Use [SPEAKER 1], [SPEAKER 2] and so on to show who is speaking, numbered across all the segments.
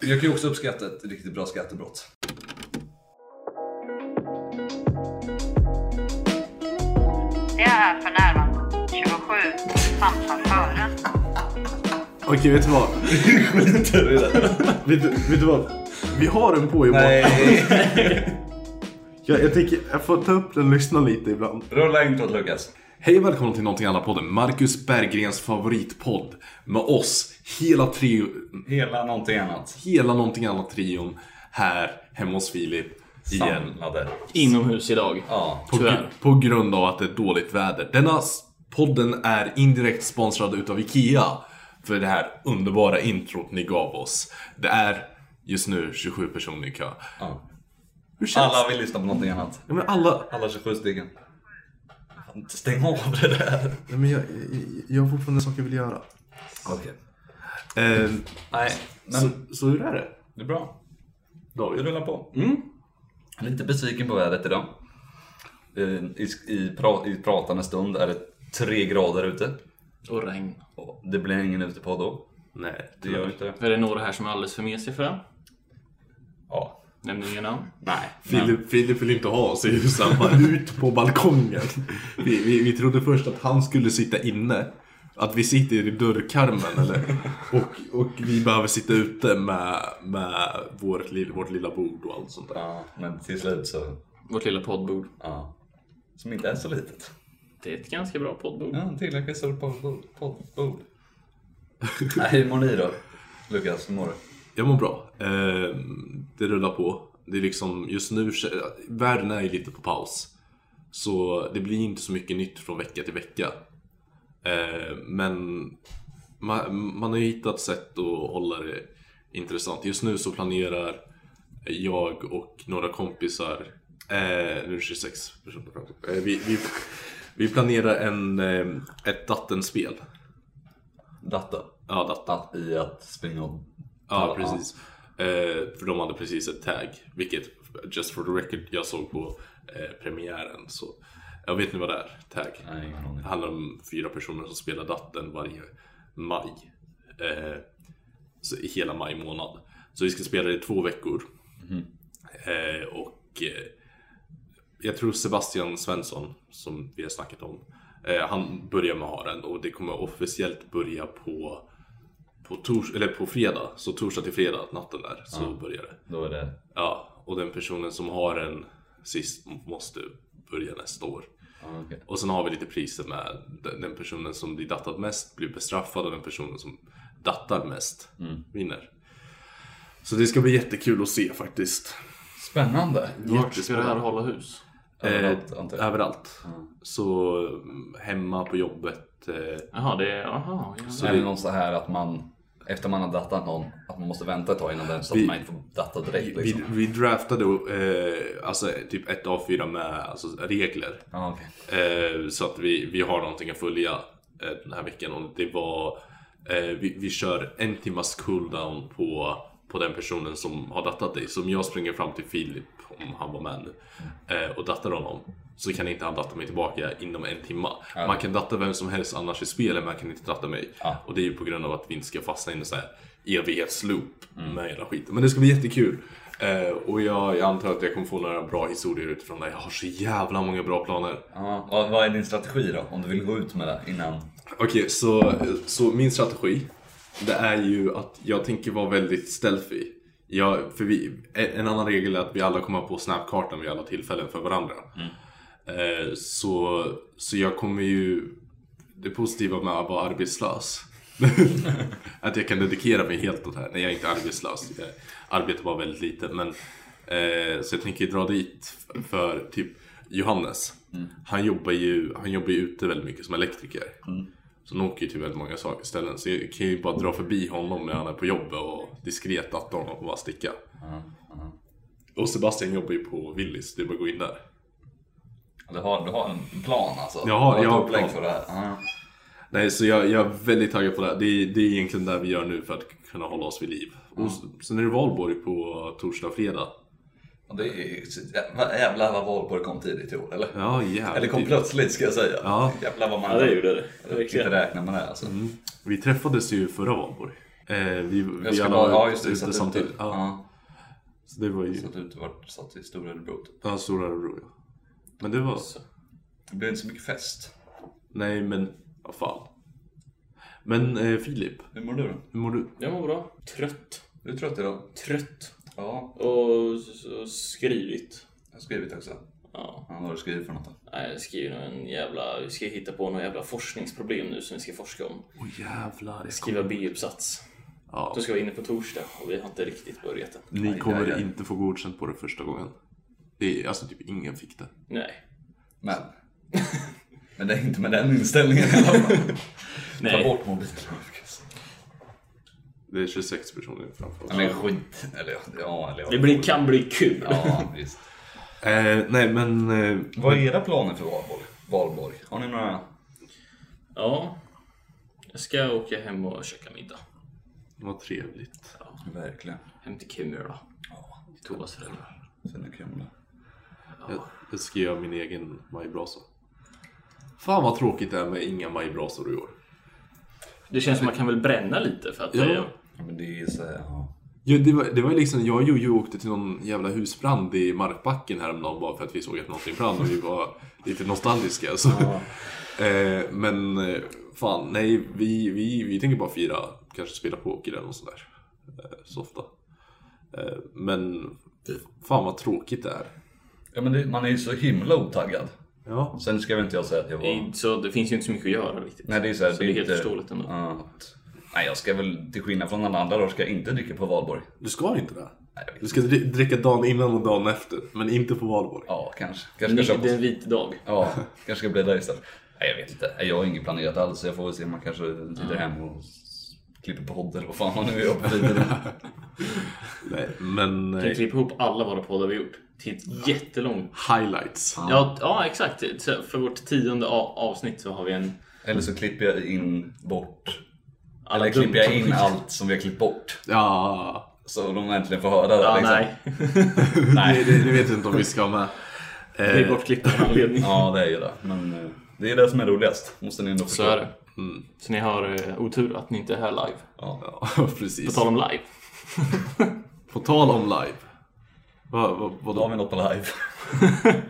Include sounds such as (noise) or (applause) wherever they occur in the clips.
[SPEAKER 1] Jag kan ju också uppskatta ett riktigt bra skattebrott.
[SPEAKER 2] Det är för närvarande 27 samtal före.
[SPEAKER 3] Okej, vet du (laughs) vad?
[SPEAKER 1] Skiter i det.
[SPEAKER 3] Vet, du- vet du vad? Vi har en på imorgon.
[SPEAKER 1] Nej.
[SPEAKER 3] Jag, jag tänker, jag får ta upp den och lyssna lite ibland.
[SPEAKER 1] (laughs) Rulla introt Lukas.
[SPEAKER 4] Hej och välkomna till Någonting Annat-podden, Marcus Berggrens favoritpodd. Med oss, hela trio,
[SPEAKER 1] Hela någonting annat.
[SPEAKER 4] hela Någonting Annat-trion här hemma hos Filip. Igen.
[SPEAKER 1] Samlade.
[SPEAKER 5] Inomhus idag.
[SPEAKER 1] Ja.
[SPEAKER 4] På,
[SPEAKER 5] Tyvärr.
[SPEAKER 4] gr- på grund av att det är dåligt väder. Denna s- podden är indirekt sponsrad utav IKEA. För det här underbara introt ni gav oss. Det är just nu 27 personer i kö.
[SPEAKER 1] ja.
[SPEAKER 4] Hur känns
[SPEAKER 1] Alla vill lyssna på någonting annat.
[SPEAKER 4] Ja, men alla...
[SPEAKER 1] Alla 27 stycken. Fan, Stäng av det där.
[SPEAKER 3] Nej, men jag, jag, jag har fortfarande saker jag vill göra.
[SPEAKER 1] Okej.
[SPEAKER 3] Eh,
[SPEAKER 4] Ehm,
[SPEAKER 1] Nej, men
[SPEAKER 4] alltså-
[SPEAKER 3] så, så hur är det?
[SPEAKER 1] det är bra. Vi
[SPEAKER 3] David?
[SPEAKER 1] rullar på. Mm. Jag är lite besviken på vädret idag. Eh, I, i, pra, I pratande stund är det tre grader ute.
[SPEAKER 5] Och regn.
[SPEAKER 1] Och Det blir ingen utepodd då.
[SPEAKER 4] Nej.
[SPEAKER 1] Det gör inte det.
[SPEAKER 5] För det är några här som är alldeles för mesiga för det.
[SPEAKER 1] Ja.
[SPEAKER 5] Nämner inga namn.
[SPEAKER 1] Nej.
[SPEAKER 4] Filip, Filip vill inte ha oss i
[SPEAKER 3] (laughs)
[SPEAKER 4] huset, han bara ut på balkongen. Vi, vi, vi trodde först att han skulle sitta inne. Att vi sitter i dörrkarmen
[SPEAKER 3] (laughs)
[SPEAKER 4] eller? Och, och vi behöver sitta ute med, med vårt, lill- vårt lilla bord och allt sånt där.
[SPEAKER 1] Ja, men till slut så...
[SPEAKER 5] Vårt lilla poddbord.
[SPEAKER 1] Ja. Som inte är så litet.
[SPEAKER 5] Det är ett ganska bra poddbord.
[SPEAKER 1] Ja, tillräckligt stort poddbord.
[SPEAKER 4] (laughs)
[SPEAKER 1] poddbord. Nej, hur mår ni då? Lukas, hur mår du?
[SPEAKER 4] Jag mår bra. Eh, det rullar på. Det är liksom, just nu, världen är ju lite på paus. Så det blir inte så mycket nytt från vecka till vecka. Eh, men man, man har ju hittat sätt att hålla det intressant. Just nu så planerar jag och några kompisar, eh, nu är det 26 personer framför- eh, vi, vi, vi planerar en, eh, ett dattenspel.
[SPEAKER 1] Datta.
[SPEAKER 4] Ja, datten.
[SPEAKER 1] Att i att springa och...
[SPEAKER 4] Ja, precis. Eh, för de hade precis ett tag, vilket just for the record jag såg på eh, premiären. Så jag vet ni vad det är? Tag.
[SPEAKER 1] Nej, ingen aning.
[SPEAKER 4] Det handlar om fyra personer som spelar datten varje maj. Eh, så i hela maj månad. Så vi ska spela det i två veckor. Eh, och eh, jag tror Sebastian Svensson, som vi har snackat om, eh, han börjar med att ha den och det kommer officiellt börja på på, tors- eller på fredag, så torsdag till fredag, natten där, så börjar det.
[SPEAKER 1] Då är det...
[SPEAKER 4] Ja, och den personen som har den sist måste börja nästa år.
[SPEAKER 1] Ja, okej.
[SPEAKER 4] Och sen har vi lite priser med den- den personen som blir dattad mest blir bestraffad och den personen som dattar mest
[SPEAKER 1] Mm.
[SPEAKER 4] vinner. Så det ska bli jättekul att se faktiskt.
[SPEAKER 1] Spännande.
[SPEAKER 5] Vart ska det här hålla hus?
[SPEAKER 1] Överallt,
[SPEAKER 4] eh,
[SPEAKER 1] antar jag.
[SPEAKER 4] överallt. Så mm, hemma på jobbet. Eh,
[SPEAKER 5] Jaha, det är... Jaha, ja.
[SPEAKER 1] Eller någon så här att man... Efter man har dattat någon, att man måste vänta ett tag innan den så att
[SPEAKER 4] Vi-
[SPEAKER 1] man inte får datta direkt
[SPEAKER 4] vi,
[SPEAKER 1] liksom.
[SPEAKER 4] vi draftade eh, alltså, typ ett A4 med alltså, regler.
[SPEAKER 1] Ja, okej.
[SPEAKER 4] Eh, så att vi, vi har någonting att följa eh, den här veckan. Och det var, eh, vi, vi kör en timmas cooldown på, på den personen som har dattat dig. Så om jag springer fram till Filip, om han var med nu, eh, och dattar honom. Så kan inte han datta mig tillbaka inom en timma. Man kan datta vem som helst annars i spelet, men man kan inte datta mig.
[SPEAKER 1] Ja.
[SPEAKER 4] Och det är ju på grund av att vi inte ska fastna i en sån här evighetsloop med hela skiten. Men det ska bli jättekul. Eh, och jag, jag antar att jag kommer få några bra historier utifrån det. Jag har så jävla många bra planer.
[SPEAKER 1] Ja, vad- vad är din strategi då? Om du vill gå ut med det innan?
[SPEAKER 4] Okej, så, så min strategi det är ju att jag tänker vara väldigt stealthy. Jag, för vi, en annan regel är att vi alla kommer på snapkartan vid alla tillfällen för varandra. Eh, så, så jag kommer ju... Det positiva med att vara arbetslös (laughs) att jag kan dedikera mig helt åt det här. Nej, jag är inte arbetslös. Jag arbetar bara väldigt lite. Men, eh, så jag tänker dra dit för typ Johannes. Han, jobbar ju, han jobbar ju ute väldigt mycket som elektriker. Så han åker ju till väldigt många saker ställen. Så jag kan ju bara dra förbi honom när han är på jobbet och diskret datta honom och bara sticka. Och Sebastian jobbar ju på Willys, det är bara att gå in där.
[SPEAKER 1] Du har, du har en plan alltså?
[SPEAKER 4] Jag har-
[SPEAKER 1] Du ett
[SPEAKER 4] jag har en
[SPEAKER 1] upplägg
[SPEAKER 4] plan.
[SPEAKER 1] för det här? Ja.
[SPEAKER 4] Nej, så jag, jag är väldigt taggad på det. här. Det är, det är egentligen det vi gör nu för att kunna hålla oss vid liv. Och s- sen är det valborg på torsdag och fredag.
[SPEAKER 1] Och Det är, vad jävlar vad Valborg kom tidigt i år eller?
[SPEAKER 4] Ja, jävligt.
[SPEAKER 1] Eller kom plötsligt ska jag säga.
[SPEAKER 4] Ja. Mm.
[SPEAKER 1] Jävlar vad man
[SPEAKER 5] Ja, det gjorde det.
[SPEAKER 1] inte räknar med det alltså.
[SPEAKER 4] Vi träffades ju förra valborg. Eh, vi, vi
[SPEAKER 1] Jag ska
[SPEAKER 4] alla
[SPEAKER 1] bara,
[SPEAKER 4] var
[SPEAKER 1] ja just det,
[SPEAKER 4] ute
[SPEAKER 1] satt ute.
[SPEAKER 4] samtidigt. Ja,
[SPEAKER 1] Ja.
[SPEAKER 4] så det var ju
[SPEAKER 1] Satt ute, vart, satt i Stora Örebro typ.
[SPEAKER 4] ja, Stora Örebro. Ja. Men det var...
[SPEAKER 1] Så. Det blev inte så mycket fest.
[SPEAKER 4] Nej men, vad fan. Men eh, Filip,
[SPEAKER 1] Hur mår du då?
[SPEAKER 4] hur mår du?
[SPEAKER 5] Jag mår bra. Trött.
[SPEAKER 1] Du är trött idag?
[SPEAKER 5] Trött.
[SPEAKER 1] Ja,
[SPEAKER 5] Och, s- och skrivit.
[SPEAKER 1] jag har skrivit också.
[SPEAKER 5] Ja.
[SPEAKER 1] Ja, vad har du skrivit för något då?
[SPEAKER 5] Nej, jag skriver nog en jävla... Vi ska hitta på några jävla forskningsproblem nu som vi ska forska om.
[SPEAKER 4] Åh oh, jävlar. Jag
[SPEAKER 5] Skriva B-uppsats.
[SPEAKER 4] ja,
[SPEAKER 5] Då ska vi inne på torsdag och vi har inte riktigt börjat än.
[SPEAKER 4] ni
[SPEAKER 1] Aj,
[SPEAKER 4] kommer
[SPEAKER 1] aj, aj.
[SPEAKER 4] inte få godkänt på det första gången. Det är, alltså typ ingen fick det.
[SPEAKER 5] Nej.
[SPEAKER 1] Men. (laughs) Men det är inte med den inställningen i alla fall. Ta
[SPEAKER 5] Nej.
[SPEAKER 1] bort mobilen Marcus.
[SPEAKER 4] Det är 26 personer framför oss.
[SPEAKER 1] Ja, men skit. Eller ja, ja, eller ja.
[SPEAKER 5] Det blir, kan bli kul.
[SPEAKER 1] Ja, visst.
[SPEAKER 4] Eh, nej men, eh,
[SPEAKER 1] Vad är era planer för Valborg? Valborg? Har ni några?
[SPEAKER 5] Ja. Jag ska åka hem och käka middag.
[SPEAKER 4] vad trevligt.
[SPEAKER 1] Verkligen.
[SPEAKER 5] Hem till Kumla.
[SPEAKER 1] Ja,
[SPEAKER 5] Till Tobas föräldrar.
[SPEAKER 1] sen är Kumla.
[SPEAKER 4] Jag, jag ska göra min egen majbrasa. Fan vad tråkigt det är med inga majbrasor i år.
[SPEAKER 5] Det känns som man kan väl bränna lite för att...
[SPEAKER 4] Ja.
[SPEAKER 1] Ja, men det är så här, ja.
[SPEAKER 4] Jo, det, var, det var ju liksom, jag och Jojo åkte till någon jävla husbrand i Markbacken häromdagen bara för att vi såg att någonting brann och vi var lite nostalgiska. Så. eh, men eh, fan, nej, vi, vi, vi tänker bara fira, kanske spela poker eller något sådär. Eh, så ofta. Eh, men fan vad tråkigt det är.
[SPEAKER 1] ja men det, man är ju så himla otaggad.
[SPEAKER 4] Ja.
[SPEAKER 1] Sen ska väl inte jag säga att jag
[SPEAKER 5] Det,
[SPEAKER 1] var...
[SPEAKER 5] är, så det finns ju inte så mycket att göra riktigt.
[SPEAKER 1] Nej det är så, här,
[SPEAKER 5] så det är helt
[SPEAKER 1] inte-
[SPEAKER 5] förståeligt ändå.
[SPEAKER 1] Ja, att- nej jag ska väl, till skillnad från alla andra dagar, ska jag inte dricka på valborg.
[SPEAKER 4] Du ska inte det?
[SPEAKER 1] Nej, jag vet
[SPEAKER 4] Du ska dri- dricka dagen innan och dagen efter, men inte på valborg.
[SPEAKER 1] Ja, kanske. Kanske
[SPEAKER 5] Det
[SPEAKER 1] ska
[SPEAKER 5] det är en
[SPEAKER 1] köpa...
[SPEAKER 5] vit dag.
[SPEAKER 1] Ja, kanske ska bläddra istället. Nej, jag vet inte. Nej, Jag har inget planerat alls. så Jag får väl se om man kanske sitter hem och s- klipper podd eller vad fan man nu gör på
[SPEAKER 5] (laughs)
[SPEAKER 1] fritiden.
[SPEAKER 4] Nej, men
[SPEAKER 5] Vi
[SPEAKER 4] eh,
[SPEAKER 5] klipper ihop alla våra poddar vi gjort till ett jättelångt...
[SPEAKER 4] highlights.
[SPEAKER 5] Ja, ja exakt. Så För vårt tionde a- avsnitt så har vi en...
[SPEAKER 1] Eller så klipper jag in bort...
[SPEAKER 5] alla
[SPEAKER 1] Eller klipper jag
[SPEAKER 5] dumma-
[SPEAKER 1] in allt som vi har klippt bort.
[SPEAKER 4] Ja.
[SPEAKER 1] Så de äntligen får höra det.
[SPEAKER 5] Ja,
[SPEAKER 1] liksom.
[SPEAKER 5] nej.
[SPEAKER 4] Nej, det, det vet jag inte om vi ska ha med. (laughs)
[SPEAKER 5] Det är bortklippt av anledning.
[SPEAKER 1] Eh, Ja, det är ju det. Men eh, det är det som är roligast. Måste ni ändå förstå.
[SPEAKER 5] Så är det.
[SPEAKER 1] Mm.
[SPEAKER 5] Så ni har eh, otur att ni inte är här live.
[SPEAKER 1] Ja.
[SPEAKER 4] Ja,
[SPEAKER 5] På
[SPEAKER 4] precis.
[SPEAKER 5] tal om live.
[SPEAKER 4] På tal om live. Va, va,
[SPEAKER 1] Då har
[SPEAKER 4] vadå?
[SPEAKER 1] vi något på live.
[SPEAKER 4] (laughs)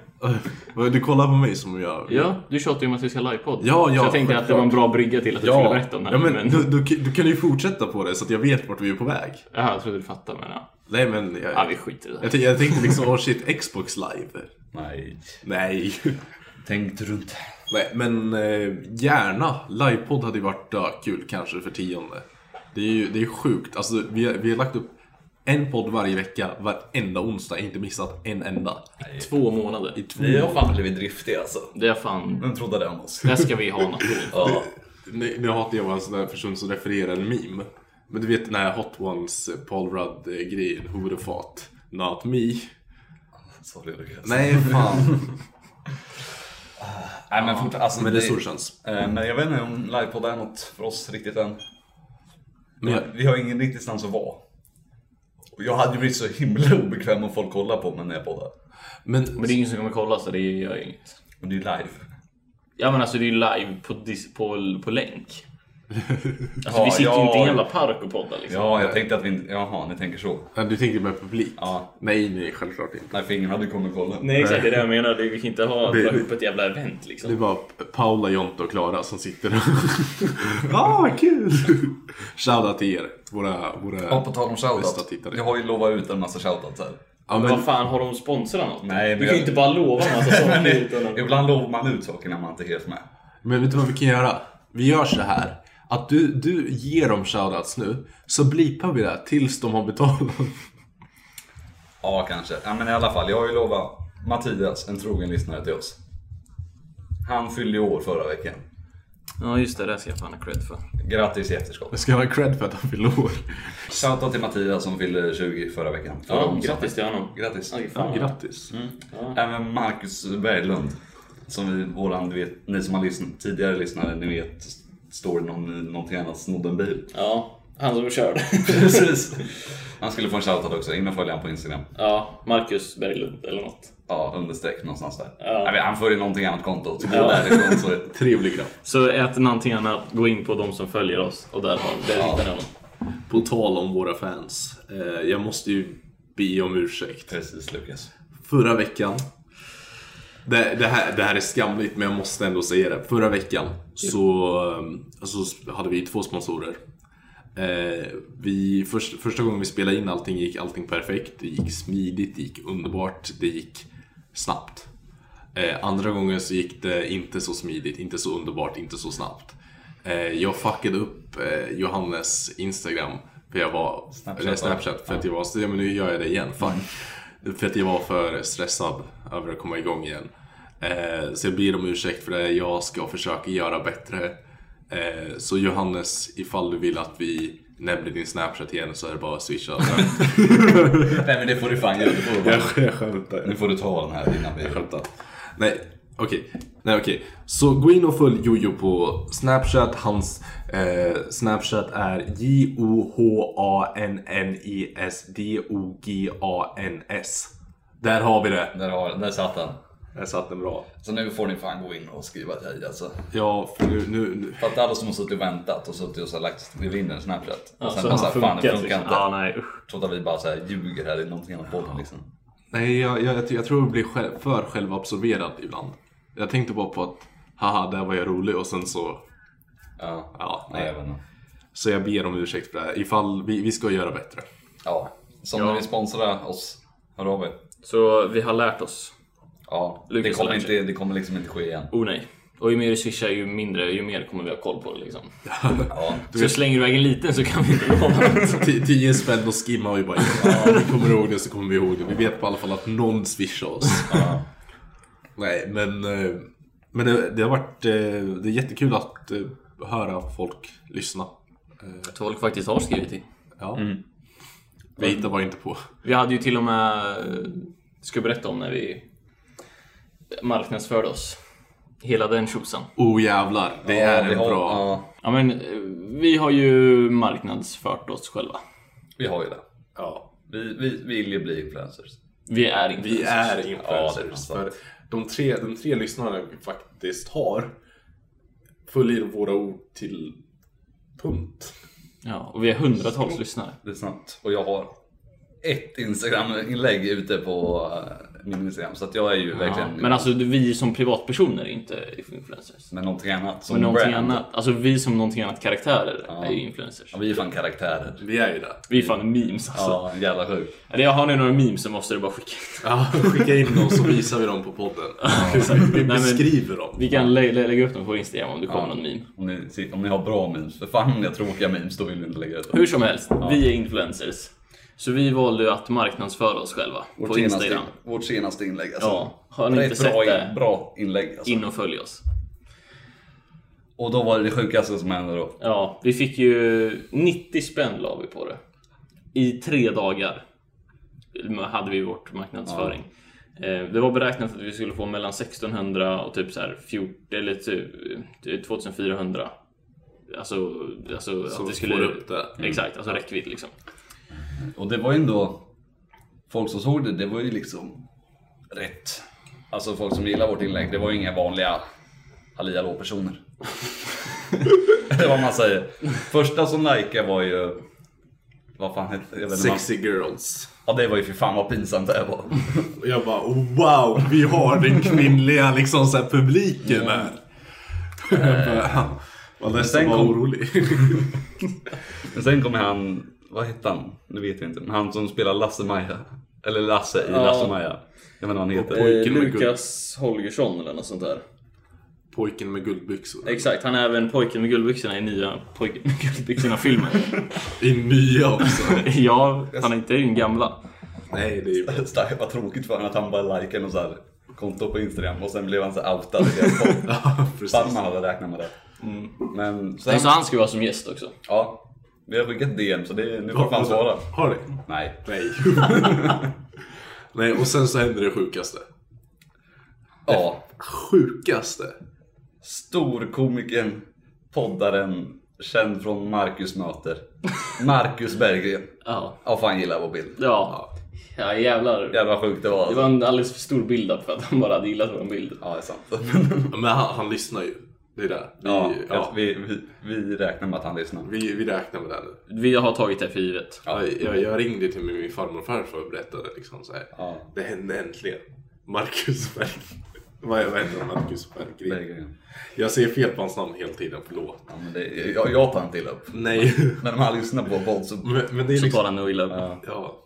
[SPEAKER 4] Va, Du kollar på mig som jag...
[SPEAKER 5] Ja, du tjatar ju om att vi ska ha livepodd.
[SPEAKER 4] Ja, ja,
[SPEAKER 5] så jag tänkte att det var en bra brygga till att du skulle berätta om det här.
[SPEAKER 4] ja men, Du, du, du kan ju fortsätta på det så att jag vet vart vi är på väg.
[SPEAKER 5] Jaha, jag trodde du fattade men ja.
[SPEAKER 4] Nej men...
[SPEAKER 5] ja
[SPEAKER 4] Jag,
[SPEAKER 5] vi skiter i det.
[SPEAKER 4] jag, tänkte, jag tänkte liksom, oh shit, Xbox live.
[SPEAKER 1] Nej.
[SPEAKER 4] Nej. (laughs)
[SPEAKER 1] Tänk runt.
[SPEAKER 4] Nej, men eh, gärna. Livepodd hade ju varit eh, kul kanske för tionde. Det är ju det är sjukt. Alltså, vi, har, vi har lagt upp en podd varje vecka, varenda onsdag. Inte missat en enda.
[SPEAKER 5] Två månader.
[SPEAKER 4] I två
[SPEAKER 1] Vi har fan blivit driftiga alltså.
[SPEAKER 5] Det är fan...
[SPEAKER 1] Vem trodde det om oss?
[SPEAKER 5] Där ska vi ha något.
[SPEAKER 1] Ja.
[SPEAKER 4] Nu, nu hatar jag en sån där person som refererar en meme. Men du vet den här Hot Ones eh, Paul Rudd-grejen, who would have thought? Not me.
[SPEAKER 1] Sorry, Lukas.
[SPEAKER 4] Nej, fan.
[SPEAKER 1] Nej, men fortfarande. Alltså,
[SPEAKER 4] (laughs) Men det är stor chans.
[SPEAKER 1] Eh, Men jag vet inte om livepodd är något för oss riktigt än.
[SPEAKER 4] Men jag,
[SPEAKER 1] Vi har ingen riktigt stans att vara. Och jag hade ju blivit så himla obekväm om folk kollar på mig när jag poddar.
[SPEAKER 4] men,
[SPEAKER 5] (laughs) Men det är ingen som kommer kolla så det gör ju inget.
[SPEAKER 1] Men det är ju live.
[SPEAKER 5] Ja men alltså det är ju live på, dis- på, på (laughs) länk. Alltså
[SPEAKER 1] Ja,
[SPEAKER 5] vi sitter ju
[SPEAKER 1] ja.
[SPEAKER 5] inte i en jävla park och poddar liksom.
[SPEAKER 1] Ja, jag tänkte att vi inte... Jaha, ni tänker så.
[SPEAKER 4] Ja, du tänker med publik?
[SPEAKER 1] Ja.
[SPEAKER 4] Nej, nej, självklart inte.
[SPEAKER 1] Nej, för ingen hade ju kommit och kollat.
[SPEAKER 5] Nej exakt, det är det jag menar. Det- Vi kan inte ha,
[SPEAKER 4] Det-
[SPEAKER 5] dra ihop ett jävla event
[SPEAKER 4] Det är
[SPEAKER 5] liksom.
[SPEAKER 4] bara Paula, Jonte och Klara som sitter och... (laughs) ah, vad kul! Shoutout till er, våra, våra
[SPEAKER 1] Ja, på tal om
[SPEAKER 4] bästa
[SPEAKER 1] shoutout.
[SPEAKER 4] tittare.
[SPEAKER 1] Jag har ju lovat ut en massa shoutouts här.
[SPEAKER 4] Ja,
[SPEAKER 5] Men
[SPEAKER 4] men,
[SPEAKER 5] vad fan, har de sponsrat något?
[SPEAKER 1] Nej, men
[SPEAKER 5] du kan ju
[SPEAKER 1] jag-
[SPEAKER 5] inte bara lova (laughs) en massa
[SPEAKER 1] Men
[SPEAKER 5] saker utan
[SPEAKER 1] det-
[SPEAKER 5] att...
[SPEAKER 1] Ibland lovar man ut saker när man inte är helt med.
[SPEAKER 4] men vet du vad vi kan göra? Vi gör så här. Att du, du ger dem shoutouts nu, så blipar vi det tills de har betalat.
[SPEAKER 1] Ja, kanske. Ja, men i alla fall, jag har ju lovat Mattias, en trogen lyssnare till oss. Han fyllde ju år förra veckan.
[SPEAKER 5] Ja just det, det ska jag fan ha cred för.
[SPEAKER 1] Grattis i efterskott.
[SPEAKER 4] Jag ska ha cred för att han fyller år.
[SPEAKER 1] Shoutout till Mattias som fyllde 20 förra veckan. Förra
[SPEAKER 5] Ja,
[SPEAKER 1] onsdagen.
[SPEAKER 5] grattis till honom.
[SPEAKER 1] Grattis.
[SPEAKER 5] Aj, fan.
[SPEAKER 4] Grattis.
[SPEAKER 1] Mm. Även Marcus Berglund. Som vi, våran, du vet, ni som har lyssnat, tidigare lyssnare, ni vet st- står någon, någonting annat snodde en (laughs) bil.
[SPEAKER 5] Ja, han som körde.
[SPEAKER 1] Precis. Han skulle få en shoutout också, in och följ han på Instagram.
[SPEAKER 5] (laughs) ja, Marcus Berglund eller något.
[SPEAKER 1] Ja, understreck någonstans där.
[SPEAKER 5] Ja.
[SPEAKER 1] Jag vet, han följer någonting annat konto. Så ja. därifrån så... (laughs)
[SPEAKER 4] Trevlig grabb.
[SPEAKER 5] Så ät någonting annat, gå in på de som följer oss och där, har, där hittar ni honom.
[SPEAKER 4] På tal om våra fans. Eh, jag måste ju be om ursäkt.
[SPEAKER 1] Precis Lukas.
[SPEAKER 4] Förra veckan. Det, det, här, det här är skamligt men jag måste ändå säga det. Förra veckan så ehm, alltså, hade vi två sponsorer. Eh, vi, först, första gången vi spelade in allting gick allting perfekt. Det gick smidigt, det gick underbart, det gick snabbt. Eh, andra gången så gick det inte så smidigt, inte så underbart, inte så snabbt. Eh, jag fuckade upp eh, Johannes Instagram för jag var...
[SPEAKER 1] Snapchat,
[SPEAKER 4] eller Snapchat för att jag var... Ja, Mm. men nu gör jag det igen, fan. För att jag var för stressad över att komma igång igen. Eh, så jag ber om ursäkt för det. Jag ska försöka göra bättre. Eh, så Johannes, ifall du vill att vi nämner din Snapchat igen så är det bara att swisha.
[SPEAKER 1] Nej men det får du fan göra. Det får du bara-
[SPEAKER 4] (laughs) jag skämtar.
[SPEAKER 1] Nu får du ta den här innan vi...
[SPEAKER 4] Skämtar. Nej, okej. Nej, okej. Så gå in och följ Jojo på Snapchat. Hans eh, Snapchat är E J-O-H-A-N-N-I-S-D-O-G-A-N-S. Där har vi det.
[SPEAKER 1] Där, har, där satt den.
[SPEAKER 4] Där satt den bra.
[SPEAKER 1] Så nu får ni fan gå in och skriva hej alltså.
[SPEAKER 4] Ja, för nu, nu, nu.
[SPEAKER 1] För att alla som har suttit och väntat och suttit och så här lagt vill in en Snapchat. Och
[SPEAKER 5] Ja,
[SPEAKER 1] sen
[SPEAKER 5] så
[SPEAKER 1] bara
[SPEAKER 5] den
[SPEAKER 1] så här, fan det funkar
[SPEAKER 5] liksom.
[SPEAKER 1] inte.
[SPEAKER 5] Ja, nej usch.
[SPEAKER 1] Trots att vi bara så här ljuger här i någonting annat podden liksom.
[SPEAKER 4] Nej, jag, jag, jag, tror- jag tror jag blir själv, för självabsorberad ibland. Jag tänkte bara på att haha, där var jag rolig och sen så,
[SPEAKER 1] Ja.
[SPEAKER 4] ja.
[SPEAKER 1] Nej, jag vet inte.
[SPEAKER 4] Så jag ber om ursäkt för det här. Ifall vi, vi ska göra bättre.
[SPEAKER 1] Ja. Som
[SPEAKER 5] Ja.
[SPEAKER 1] när ni sponsrar oss. Hör av er.
[SPEAKER 5] Så vi har lärt oss.
[SPEAKER 1] Ja. Det
[SPEAKER 5] Lucas
[SPEAKER 1] kommer,
[SPEAKER 5] har lärt sig.
[SPEAKER 1] inte, det kommer liksom inte ske igen.
[SPEAKER 5] Oh nej. Och ju mer du swishar ju mindre, ju mer kommer vi ha koll på det liksom.
[SPEAKER 1] Ja.
[SPEAKER 5] Så slänger du iväg en liten så kan vi inte
[SPEAKER 4] (laughs)
[SPEAKER 5] lova något.
[SPEAKER 4] T- Tio spänn och skimmar vi bara in. Ja, vi kommer ihåg det så kommer vi ihåg det. Vi vet på alla fall att någon swishar oss. Nej, men, eh, men det, det har varit eh, det är jättekul att eh, höra folk lyssna.
[SPEAKER 5] Att folk faktiskt har skrivit till.
[SPEAKER 4] Ja.
[SPEAKER 1] Mm.
[SPEAKER 4] Vi hittar bara inte på.
[SPEAKER 5] Vi hade ju till och med, eh, ska jag berätta om när vi marknadsförde oss. Hela den tjosan.
[SPEAKER 4] Oh jävlar, det
[SPEAKER 1] Ja,
[SPEAKER 4] är
[SPEAKER 1] vi
[SPEAKER 4] en
[SPEAKER 1] har-
[SPEAKER 4] bra...
[SPEAKER 1] Ja,
[SPEAKER 5] Ja men eh, vi har ju marknadsfört oss själva.
[SPEAKER 1] vi har ju det.
[SPEAKER 4] Ja.
[SPEAKER 1] Vi, vi, vi vill ju bli influencers.
[SPEAKER 5] Vi är inte
[SPEAKER 4] Vi
[SPEAKER 1] Ja,
[SPEAKER 4] är
[SPEAKER 1] det är
[SPEAKER 4] influencers.
[SPEAKER 1] sant.
[SPEAKER 4] för de tre, de tre lyssnarna vi faktiskt har följer våra ord till punkt.
[SPEAKER 5] Ja, och vi har hundratals lyssnare.
[SPEAKER 1] Det är sant. Och jag har ett Instagram-inlägg ute på eh, min Instagram. Så att jag är ju
[SPEAKER 5] Ja,
[SPEAKER 1] verkligen...
[SPEAKER 5] men alltså vi som privatpersoner är inte influencers.
[SPEAKER 1] Men någonting annat. Som
[SPEAKER 5] Men någonting
[SPEAKER 1] brand.
[SPEAKER 5] annat, alltså vi som någonting annat karaktärer är ju influencers.
[SPEAKER 1] Ja, vi är fan karaktärer.
[SPEAKER 4] Vi är ju det.
[SPEAKER 5] Vi är fan memes alltså.
[SPEAKER 1] Ja, jävla sjukt.
[SPEAKER 5] Eller jag har nu några memes så måste du bara skicka. (laughs)
[SPEAKER 4] (laughs) Ja, skicka in dem så visar vi dem på podden. Exakt, (laughs) Vi
[SPEAKER 5] men-
[SPEAKER 4] beskriver dem.
[SPEAKER 5] Vi kan lä- lä- lägga upp dem på Instagram om det kommer någon meme.
[SPEAKER 1] Om ni, sit- om ni har bra memes. För fan om ni har tråkiga memes då vill vi inte lägga ut dem.
[SPEAKER 5] Hur som helst, vi är influencers. Så vi valde ju att marknadsföra oss själva på
[SPEAKER 1] senaste,
[SPEAKER 5] Instagram.
[SPEAKER 1] vårt senaste inlägg alltså.
[SPEAKER 5] Ja, har ni
[SPEAKER 1] Det är
[SPEAKER 5] inte
[SPEAKER 1] ett
[SPEAKER 5] sett
[SPEAKER 1] bra,
[SPEAKER 5] det?
[SPEAKER 1] in, bra inlägg alltså.
[SPEAKER 5] In och följ oss.
[SPEAKER 1] Och då var det det sjukaste som hände då.
[SPEAKER 5] Ja, vi fick ju 90 spänn la vi på det. I tre dagar hade vi vårt marknadsföring. Eh, Det var beräknat att vi skulle få mellan 1600 och typ så här 14, eller typ 2400. Alltså, alltså
[SPEAKER 4] Så
[SPEAKER 5] att det
[SPEAKER 4] vi
[SPEAKER 5] skulle...
[SPEAKER 4] får upp det. Mm.
[SPEAKER 5] Exakt, alltså räckvidd liksom.
[SPEAKER 1] Och det var ju ändå... Folk som såg det, det var ju liksom rätt. Alltså folk som gillar vårt inlägg, det var ju inga vanliga halli hallå personer. (laughs) det är vad man säger. Första som likade var ju... Vad fan hette jag vet inte vad-
[SPEAKER 4] Sexy girls.
[SPEAKER 1] Ja det var ju för fan vad pinsamt det var.
[SPEAKER 4] Och jag bara wow, vi har den kvinnliga liksom, så här, publiken här. Jag bara, Vad ledsen,
[SPEAKER 1] sen
[SPEAKER 4] vad
[SPEAKER 1] kom-
[SPEAKER 4] orolig.
[SPEAKER 1] Men sen kommer han, vad hette han? Nu vet jag inte. Men han som spelar Lasse-Maja. Eller Lasse i Lasse-Maja. Jag vet inte vad han heter.
[SPEAKER 4] Pojken med guld.
[SPEAKER 5] Holgersson eller något sånt där.
[SPEAKER 4] (laughs) Pojken med guldbyxor.
[SPEAKER 5] Exakt, han är även pojken med guldbyxorna i nya Pojken med (laughs) guldbyxorna-filmen.
[SPEAKER 4] I nya också.
[SPEAKER 5] ja, han är inte i den gamla.
[SPEAKER 4] (laughs) Nej, det är ju...
[SPEAKER 1] Starkt, vad tråkigt för honom att han bara likade och så här konto på Instagram och sen blev han så här outad. i deras podd.
[SPEAKER 4] Ja, precis.
[SPEAKER 1] Fan man hade räknat med det. Men sen,
[SPEAKER 5] Nej, Så Alltså, han ska ju vara som gäst också.
[SPEAKER 1] ja. Vi har skickat DM så det, nu får fan svara.
[SPEAKER 4] Har ni?
[SPEAKER 1] Nej.
[SPEAKER 4] Nej. (laughs) Nej, och sen så händer det sjukaste.
[SPEAKER 1] Ja.
[SPEAKER 4] Sjukaste?
[SPEAKER 1] Storkomikern, poddaren, känd från Marcus möter. Marcus Berggren.
[SPEAKER 5] Ja.
[SPEAKER 1] Ja fan gillar vår bild.
[SPEAKER 5] Ja. Ja jävlar.
[SPEAKER 1] Jävla sjukt det var.
[SPEAKER 5] Det
[SPEAKER 1] Alltså.
[SPEAKER 5] var en alldeles för stor build-up för att han bara hade gillat vår bild.
[SPEAKER 1] Ja det är sant. (laughs)
[SPEAKER 4] Men han, han lyssnar ju. Det är där. Vi,
[SPEAKER 1] Ja,
[SPEAKER 4] ja,
[SPEAKER 1] att Vi, vi, vi räknar med att han lyssnar.
[SPEAKER 4] vi, vi räknar med det här nu.
[SPEAKER 5] Vi har tagit det här för givet.
[SPEAKER 4] Ja, jag, jag ringde till min farmor och farfar och berättade liksom så här.
[SPEAKER 1] Ja.
[SPEAKER 4] Det hände äntligen. Marcus Berg. (laughs) Vad vad heter han? Marcus Berggren.
[SPEAKER 1] Berggren.
[SPEAKER 4] Jag säger fel på hans namn hela tiden, förlåt.
[SPEAKER 1] Ja, men det, jag, jag tar inte illa upp.
[SPEAKER 4] Nej. (laughs)
[SPEAKER 1] Men om han lyssnar på Bolt så...
[SPEAKER 4] Men, men det är
[SPEAKER 5] Så
[SPEAKER 4] liksom,
[SPEAKER 5] tar han nog illa upp.
[SPEAKER 4] ja.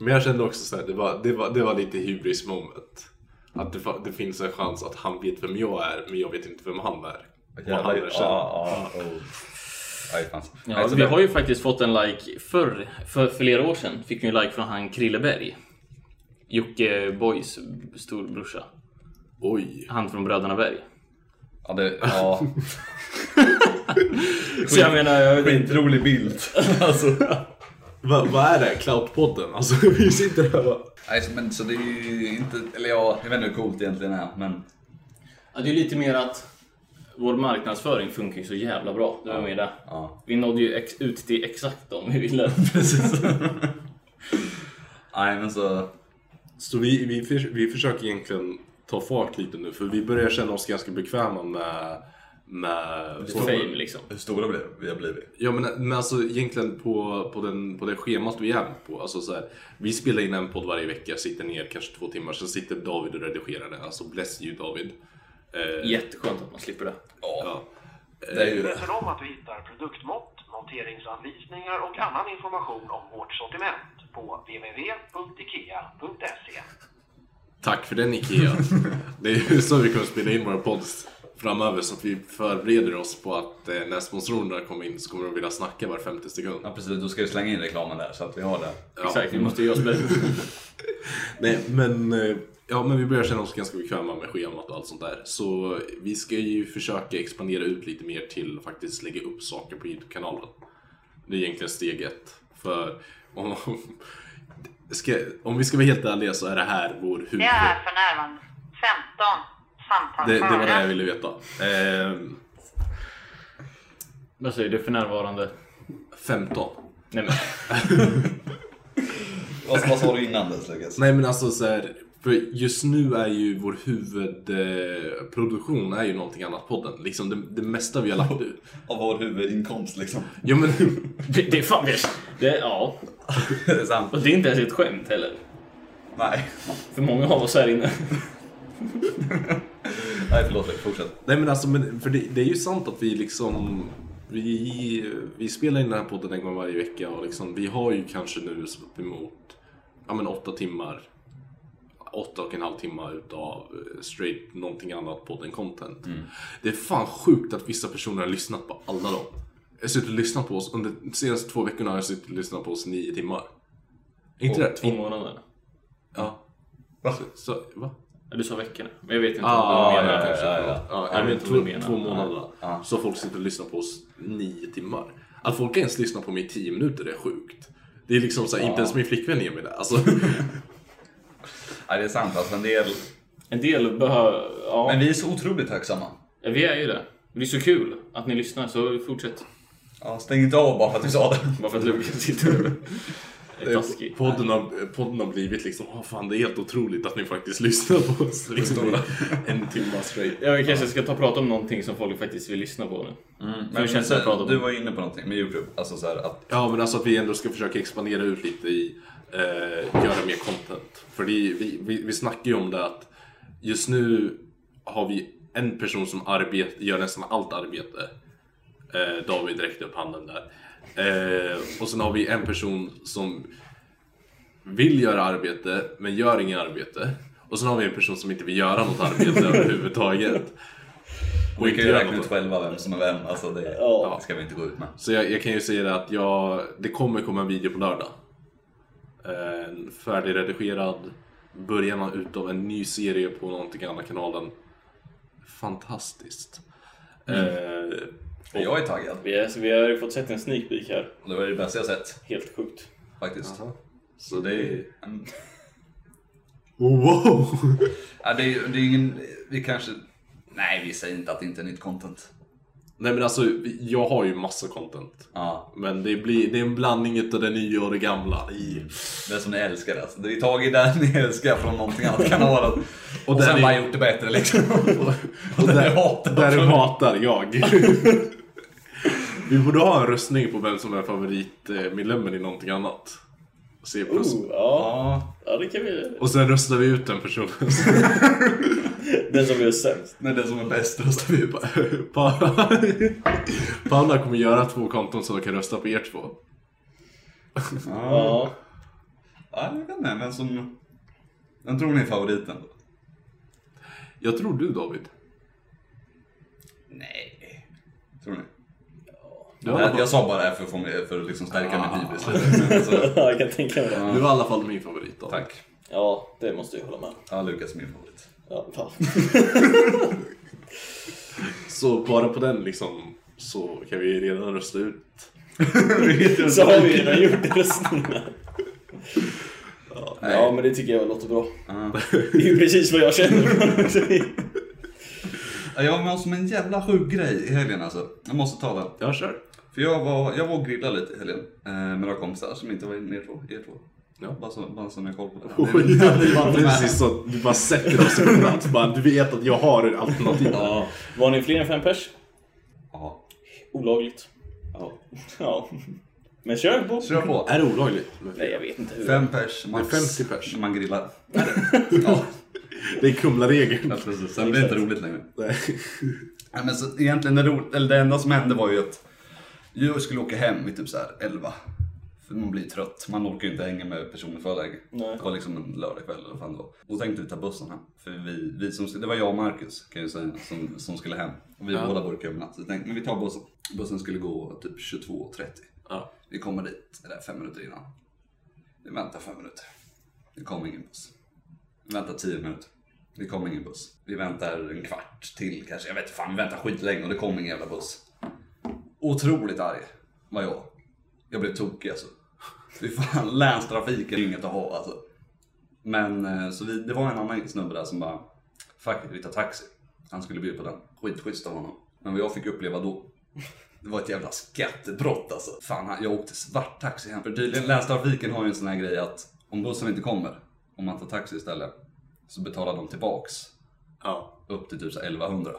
[SPEAKER 4] Men jag kände också så här, det var, det var, det var lite hybris moment. Att det, fa- det finns en chans att han vet vem jag är, men jag vet inte vem han är. Vad han
[SPEAKER 1] Jävlar,
[SPEAKER 4] är
[SPEAKER 1] ja,
[SPEAKER 4] själv.
[SPEAKER 1] ja, oh. Aj, fan.
[SPEAKER 5] Ja,
[SPEAKER 1] Alltså,
[SPEAKER 5] vi
[SPEAKER 1] det-
[SPEAKER 5] har ju faktiskt fått en like förr, för flera år sedan fick vi en like från han Krilleberg. Jocke Boys storbrorsa.
[SPEAKER 4] Oj.
[SPEAKER 5] Han från Bröderna Berg.
[SPEAKER 1] Ja, det, ja.
[SPEAKER 5] (laughs) Så jag menar, jag vet inte.
[SPEAKER 1] Skitrolig bild. alltså.
[SPEAKER 4] Va- Vad är det här? Cloudpodden? Alltså (laughs) vi sitter här och bara...
[SPEAKER 1] Nej, så- men så det är ju inte... Eller ja, jag vet inte hur coolt det egentligen är, men...
[SPEAKER 5] Ja, det är lite mer att vår marknadsföring funkar ju så jävla bra. Det var med det.
[SPEAKER 1] Ja.
[SPEAKER 5] Vi nådde ju ex- ut till exakt dem vi (laughs) ville.
[SPEAKER 1] Nej, men så...
[SPEAKER 4] Så vi, vi, förs- vi försöker egentligen ta fart lite nu för vi börjar känna oss ganska bekväma med... med
[SPEAKER 5] För fame liksom.
[SPEAKER 1] Hur stora blev vi har blivit?
[SPEAKER 4] Ja men, men alltså egentligen på, på, den, på det schemat vi är på. Alltså, så här, vi spelar in en podd varje vecka, sitter ner kanske två timmar, sen sitter David och redigerar den. Alltså bless you David. Eh,
[SPEAKER 5] Jätteskönt att man slipper det.
[SPEAKER 4] ja.
[SPEAKER 1] Det
[SPEAKER 4] Eh,
[SPEAKER 1] är ju det.
[SPEAKER 6] Läser om att du hittar produktmått, monteringsanvisningar och annan information om vårt sortiment på www.ikea.se.
[SPEAKER 4] Tack för
[SPEAKER 1] (laughs)
[SPEAKER 4] den Ikea. det är ju så vi kommer spela in våra pods framöver så att vi förbereder oss på att eh, när sponsorerna kommer in så kommer de vilja snacka var 50 sekund.
[SPEAKER 1] Ja, precis. Då ska vi slänga in reklamen där så att vi har det.
[SPEAKER 4] Ja.
[SPEAKER 5] Exakt, vi måste göra oss bättre.
[SPEAKER 4] Nej, men, eh, ja, men vi börjar känna oss ganska bekväma med schemat och allt sånt där. Så vi ska ju försöka expandera ut lite mer till att faktiskt lägga upp saker på YouTube-kanalen. Det är egentligen steg ett. För om, (laughs) om- ska, om vi ska vara helt ärliga så är det här vår huvud...
[SPEAKER 2] Det är för närvarande 15 samtal
[SPEAKER 4] Det, det var det jag
[SPEAKER 2] före.
[SPEAKER 4] ville veta. Eh,
[SPEAKER 5] Vad säger du för närvarande?
[SPEAKER 4] 15.
[SPEAKER 5] Nej men,
[SPEAKER 1] Vad, vad sa du innan dess, Lukas?
[SPEAKER 4] Nej men alltså så här, för just nu är ju vår huvudproduktion eh, är ju någonting annat podden. Liksom det, det mesta vi har lagt ut.
[SPEAKER 1] Av vår huvudinkomst liksom.
[SPEAKER 4] Ja men
[SPEAKER 5] det, det är fan det, det, Ja,
[SPEAKER 1] (laughs) det är sant.
[SPEAKER 5] och det är inte ens ett skämt heller.
[SPEAKER 1] Nej.
[SPEAKER 5] För många av oss här inne.
[SPEAKER 1] Nej, förlåt. Fortsätt.
[SPEAKER 4] Nej men alltså, men, för det, det är ju sant att vi liksom vi, vi spelar in den här podden en gång varje vecka och liksom, vi har ju kanske nu uppemot ja, men åtta timmar åtta och en halv timme utav eh, straight någonting annat podden content.
[SPEAKER 5] Mm.
[SPEAKER 4] Det är fan sjukt att vissa personer har lyssnat på alla dem. Jag har suttit och lyssnat på oss under de senaste två veckorna har jag suttit och lyssnat på oss nio timmar. Är inte det?
[SPEAKER 5] Två månader.
[SPEAKER 4] Ja.
[SPEAKER 1] Va?
[SPEAKER 4] Så, så, va?
[SPEAKER 5] Ja, Du sa veckorna, men jag vet inte
[SPEAKER 4] Ah,
[SPEAKER 5] vad du menar
[SPEAKER 4] ja,
[SPEAKER 5] kanske.
[SPEAKER 1] ja, ja.
[SPEAKER 4] Ja,
[SPEAKER 5] Ja,
[SPEAKER 4] jag
[SPEAKER 5] men
[SPEAKER 4] men
[SPEAKER 5] två-
[SPEAKER 4] två, två månader.
[SPEAKER 1] Ja.
[SPEAKER 4] Så folk sitter och lyssnar på oss nio timmar. Att folk ens lyssnar på mig i tio minuter det är sjukt. Det är liksom så här, inte ens min flickvän ger mig det. Alltså,
[SPEAKER 1] Nej, det är sant. Alltså, en del...
[SPEAKER 5] En del behöver... Ja,
[SPEAKER 1] Men vi är så otroligt tacksamma.
[SPEAKER 5] vi är ju det. Det är så kul att ni lyssnar, så fortsätt.
[SPEAKER 1] Ja, stäng inte av bara för att vi sa det.
[SPEAKER 5] Bara för att Lukas sitter och är taskig.
[SPEAKER 4] eh, podden, har, podden har blivit liksom, oh, fan det är helt otroligt att ni faktiskt (laughs) lyssnar på oss. Liksom, i en timme straight.
[SPEAKER 5] Ja, vi kanske ska ta och prata om någonting som folk faktiskt vill lyssna på nu.
[SPEAKER 1] Men,
[SPEAKER 5] känns det att prata om?
[SPEAKER 1] du var inne på någonting med Youtube. Alltså så här att...
[SPEAKER 4] Ja men alltså att vi ändå ska försöka expandera ut lite i, eh, göra mer content. För det är, vi, vi, vi snackar ju om det att just nu har vi en person som arbet, gör nästan allt arbete. Eh, David räckte upp handen där. Eh, och sen har vi en person som vill göra arbete men gör inget arbete. Och sen har vi en person som inte vill göra
[SPEAKER 1] (laughs)
[SPEAKER 4] något arbete överhuvudtaget. Och
[SPEAKER 1] Vi kan ju
[SPEAKER 4] gör
[SPEAKER 1] räkna
[SPEAKER 4] något.
[SPEAKER 1] ut själva vem som är vem. Alltså, det
[SPEAKER 5] Ja.
[SPEAKER 1] ska vi inte gå ut med.
[SPEAKER 4] Så jag, jag kan ju säga det att jag, det kommer komma en video på lördag. Eh, En färdigredigerad början utav en ny serie på någonting annat kanalen. Fantastiskt.
[SPEAKER 1] Mm.
[SPEAKER 4] Eh,
[SPEAKER 1] Jag är taggad.
[SPEAKER 5] Vi, är, så vi har ju fått sett en sneak peek här.
[SPEAKER 1] Det var det bästa jag sett
[SPEAKER 5] Helt sjukt.
[SPEAKER 1] faktiskt.
[SPEAKER 4] så det är...
[SPEAKER 1] Mm.
[SPEAKER 4] Wow!
[SPEAKER 1] Ja, det, är, det är ingen... Vi kanske... Nej, vi säger inte att det inte är nytt content.
[SPEAKER 4] Nej men alltså, jag har ju massa content.
[SPEAKER 1] Ja.
[SPEAKER 4] Men det, blir, det är en blandning utav det nya och det gamla. I.
[SPEAKER 1] Det som ni älskar alltså. Det är tagit det ni älskar från någonting annat kanaler. Och,
[SPEAKER 4] där
[SPEAKER 1] sen
[SPEAKER 4] är-
[SPEAKER 1] bara gjort det bättre liksom.
[SPEAKER 4] (laughs) Och
[SPEAKER 1] det
[SPEAKER 4] där,
[SPEAKER 1] ni hatar.
[SPEAKER 4] där hatar jag. (laughs) Vi borde ha en röstning på vem som är favoritmedlemmen i någonting annat. Se på
[SPEAKER 5] Oh, ja.
[SPEAKER 1] Ja.
[SPEAKER 5] ja, det kan vi
[SPEAKER 4] Och sen röstar vi ut den personen. (laughs)
[SPEAKER 5] Den som gör sämst.
[SPEAKER 1] Men det som är bäst
[SPEAKER 4] röstar vi på... Pa- Paula kommer göra två konton så de kan rösta på er två.
[SPEAKER 5] Ja.
[SPEAKER 1] Ja, jag vet inte. Men som... Den tror ni är favoriten?
[SPEAKER 4] Jag tror du David.
[SPEAKER 1] Nej. Tror ni?
[SPEAKER 4] Du var, i alla
[SPEAKER 1] Jag,
[SPEAKER 4] fall,
[SPEAKER 1] jag sa bara det här för att, få mig, för att liksom stärka min hybris lite. Men så-
[SPEAKER 5] jag kan tänka mig det.
[SPEAKER 4] du var i alla fall min favorit David.
[SPEAKER 1] Tack.
[SPEAKER 5] Ja, det måste jag hålla med.
[SPEAKER 1] Ja, Lukas är min
[SPEAKER 4] (laughs)
[SPEAKER 1] favorit.
[SPEAKER 5] Ja, fan. (laughs)
[SPEAKER 4] Så bara på den liksom så kan vi redan rösta ut.
[SPEAKER 5] Så har vi redan gjort röstningarna. Ja,
[SPEAKER 1] Nej.
[SPEAKER 5] ja, men det tycker jag låter bra. Det är ju precis vad jag känner.
[SPEAKER 1] (laughs) Ja, Jag var med som en jävla sjuk grej i helgen alltså. Jag måste tala.
[SPEAKER 4] Jag kör.
[SPEAKER 1] För jag var, jag var och grillade lite i helgen eh, med några kompisar som inte var inne i er två. Er två.
[SPEAKER 4] Ja.
[SPEAKER 1] Bara, så, bara så ni har koll på det.
[SPEAKER 4] (laughs) Oj,
[SPEAKER 1] Nej, men-
[SPEAKER 4] det är (laughs) precis så du bara sätter oss på plats. Bara, du vet att jag har ett alternativ.
[SPEAKER 5] Ja. Var ni fler än fem pers?
[SPEAKER 1] Ja,
[SPEAKER 5] Olagligt.
[SPEAKER 4] Ja.
[SPEAKER 5] Ja. Men kör på.
[SPEAKER 1] kör på.
[SPEAKER 4] Är det olagligt? med
[SPEAKER 5] Nej,
[SPEAKER 4] fler?
[SPEAKER 5] jag vet inte hur.
[SPEAKER 1] Fem pers max.
[SPEAKER 4] Det är 50 pers.
[SPEAKER 1] när Man grillar. ja,
[SPEAKER 4] Det är Kumlaregeln.
[SPEAKER 1] ja, precis. Sen blir det inte roligt längre.
[SPEAKER 4] Nej.
[SPEAKER 1] Nej, men så, egentligen det, ro, eller det enda som hände var ju att jag skulle åka hem vid typ så här 11. För man blir trött, man orkar ju inte hänga med personer för länge.
[SPEAKER 5] Nej.
[SPEAKER 1] Det var liksom en lördagkväll eller vad fan det var. Då tänkte vi ta bussen hem. För vi, vi som, skulle- det var jag och Marcus kan jag säga som, som skulle hem. Och vi båda var gömda. Så vi tänkte men vi tar bussen. Bussen skulle gå typ 22.30.
[SPEAKER 4] Ja.
[SPEAKER 1] Vi kommer dit det där fem minuter innan. Vi väntar fem minuter. Det kommer ingen buss. Vi väntar tio minuter. Det kommer ingen buss. Vi väntar en kvart till kanske. Jag vet inte fan, vi väntar skitlänge och det kommer ingen jävla buss. Otroligt arg var jag. Jag blev tokig alltså. Fy fan, (laughs) länstrafiken är inget att ha alltså. Men eh, så vi, det var en annan snubbe där som bara, fuck it, vi tar taxi. Han skulle bjuda på den. Skitschysst av honom. Men vad jag fick uppleva då, det var ett jävla skattebrott alltså. Fan, han- jag åkte svart taxi hem. För tydligen, länstrafiken har ju en sån här grej att om bussen inte kommer, om man tar taxi istället, så betalar de tillbaks
[SPEAKER 4] (laughs) Ja.
[SPEAKER 1] upp till typ så här 1100.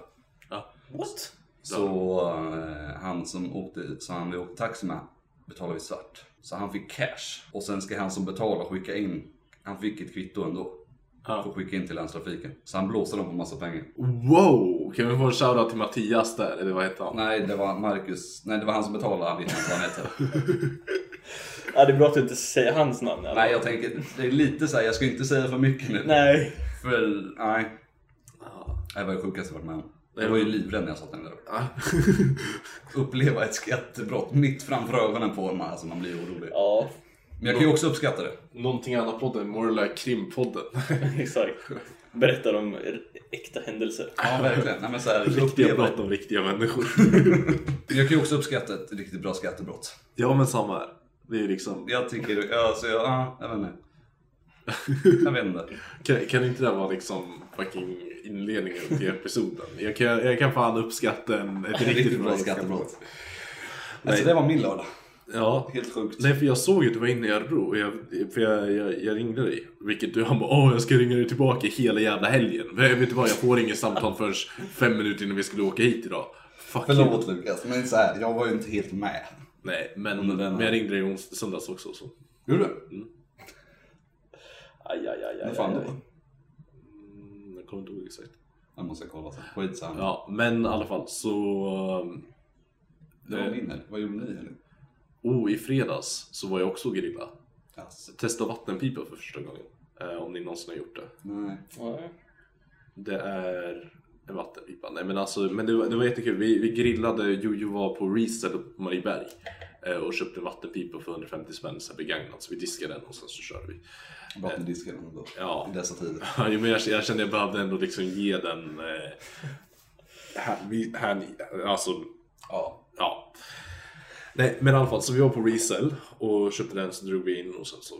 [SPEAKER 4] Ja.
[SPEAKER 5] What?
[SPEAKER 1] Så eh, han som åkte, så han vi åkte taxi med betalade vi svart. Så han fick cash och sen ska han som betalar skicka in, han fick ett kvitto ändå. För att skicka in till länstrafiken. Så han blåste dem på massa pengar.
[SPEAKER 4] Wow! Kan vi få en shoutout till Mattias där? Eller vad heter han?
[SPEAKER 1] Nej, det var Marcus, nej det var han som betalade, han vet inte vad han heter.
[SPEAKER 5] Ja, det är bra att du inte säger hans namn. eller?
[SPEAKER 1] Nej, jag tänker, det är lite så här, jag ska inte säga för mycket nu.
[SPEAKER 5] Nej.
[SPEAKER 1] För, nej. Det var det sjukaste jag varit med om. Jag var ju livrädd när jag satt där nere.
[SPEAKER 4] Ja.
[SPEAKER 1] (laughs) Uppleva ett skattebrott mitt framför ögonen på mig, alltså man blir orolig.
[SPEAKER 5] Ja, (laughs)
[SPEAKER 1] Men jag kan ju också uppskatta det.
[SPEAKER 4] Någonting annat podden, more like krimpodden.
[SPEAKER 5] exakt. Berättar om äkta händelser.
[SPEAKER 1] Ja, verkligen. Nej, men så här,
[SPEAKER 4] Riktiga
[SPEAKER 1] uppleva-
[SPEAKER 4] brott av riktiga människor.
[SPEAKER 1] Jag kan ju också uppskatta ett riktigt bra skattebrott.
[SPEAKER 4] (laughs) ja men samma här. Det är ju liksom...
[SPEAKER 1] Jag tycker, ja, så jag, ja, jag vet inte. Jag vet inte.
[SPEAKER 4] Kan, kan inte det här vara liksom fucking inledningen till episoden? Jag kan, jag kan fan uppskatta en, ett
[SPEAKER 1] Riktigt,
[SPEAKER 4] (laughs) riktigt
[SPEAKER 1] bra skattebrott. Alltså det var min lördag.
[SPEAKER 4] Ja.
[SPEAKER 1] Helt sjukt.
[SPEAKER 4] Nej för jag såg ju att du var inne i Örebro och jag, för jag, jag, jag ringde dig. Vilket du, han bara åh jag ska ringa dig tillbaka hela jävla helgen. Men Vet du vad jag får inget samtal förrän fem minuter innan vi skulle åka hit idag. Fuck you.
[SPEAKER 1] Förlåt Lukas, men så här, jag var ju inte helt med.
[SPEAKER 4] Nej men,
[SPEAKER 1] Under den
[SPEAKER 4] men
[SPEAKER 1] här.
[SPEAKER 4] jag ringde dig i ons- söndags också. Så.
[SPEAKER 1] Gjorde du?
[SPEAKER 5] Aj, aj, aj, aj,
[SPEAKER 1] Vad fan
[SPEAKER 5] aj.
[SPEAKER 7] Eh,
[SPEAKER 1] då?
[SPEAKER 4] Mm, jag kommer inte ihåg exakt.
[SPEAKER 1] Jag måste kolla sen. Skitsamma.
[SPEAKER 4] Ja men i alla fall så. um,
[SPEAKER 1] Det var min helg. Vad gjorde ni i helgen?
[SPEAKER 4] Oh i fredags så var jag också och grilla.
[SPEAKER 1] Alltså,
[SPEAKER 4] Testa vattenpipa för första gången. Eh, om ni någonsin har gjort det.
[SPEAKER 1] nej.
[SPEAKER 5] Nej.
[SPEAKER 4] Det är en vattenpipa. Nej men alltså, men det var, det var jättekul. Vi, vi grillade, Jojo var på Resell på Marieberg eh, och köpte en vattenpipa för 150 spänn, så här begagnat. Så vi diskade den och sen så körde vi. (laughs)
[SPEAKER 1] Bara till disken ändå.
[SPEAKER 4] Ja.
[SPEAKER 1] I dessa tider.
[SPEAKER 4] Ja, jo, men jag, jag kände jag behövde ändå liksom ge den... Eh, här, vi, här, alltså,
[SPEAKER 1] Ja.
[SPEAKER 4] ja. Nej, men i alla fall, så vi var på Resell och köpte den, så drog vi in och sen så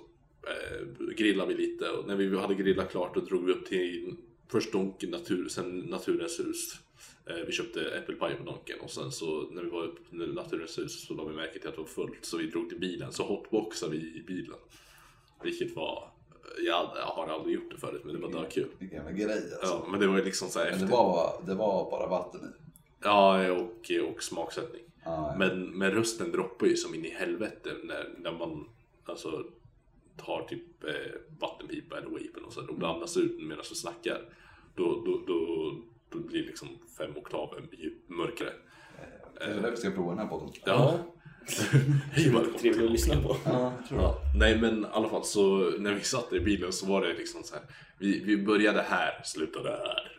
[SPEAKER 4] eh, grillade vi lite. Och när vi hade grillat klart då drog vi upp till först Donken natur, sen Naturens hus. Eh, Vi köpte äppelpaj på Donken och sen så när vi var uppe på Naturens hus så la vi märke till att det var fullt så vi drog till bilen så hotboxade vi i bilen. Vilket var, jag jag har aldrig gjort det förut men det var dökul.
[SPEAKER 7] Vilken jävla grej alltså.
[SPEAKER 4] Ja, men det var ju liksom så här
[SPEAKER 7] Mm. Men det
[SPEAKER 4] efter...
[SPEAKER 7] var, det var bara vatten i.
[SPEAKER 4] Ja, och, och smaksättning.
[SPEAKER 7] Ja, ja.
[SPEAKER 4] Men, men rösten droppar ju som in i helvete när, när man alltså, tar typ eh, vattenpipa eller vapen och, så, och det andas ut medan du snackar. Då, då, då, då blir liksom fem oktaver djup- mörkare.
[SPEAKER 7] Det
[SPEAKER 4] Eh.
[SPEAKER 7] är därför vi ska prova den här podden.
[SPEAKER 5] (laughs)
[SPEAKER 4] Ja. Hej, välkommen
[SPEAKER 5] Trevligt att lyssna på.
[SPEAKER 7] Ja, jag tror det.
[SPEAKER 4] Ja, nej men i alla fall så när vi satt i bilen så var det liksom så här. Vi, vi började här, slutade här.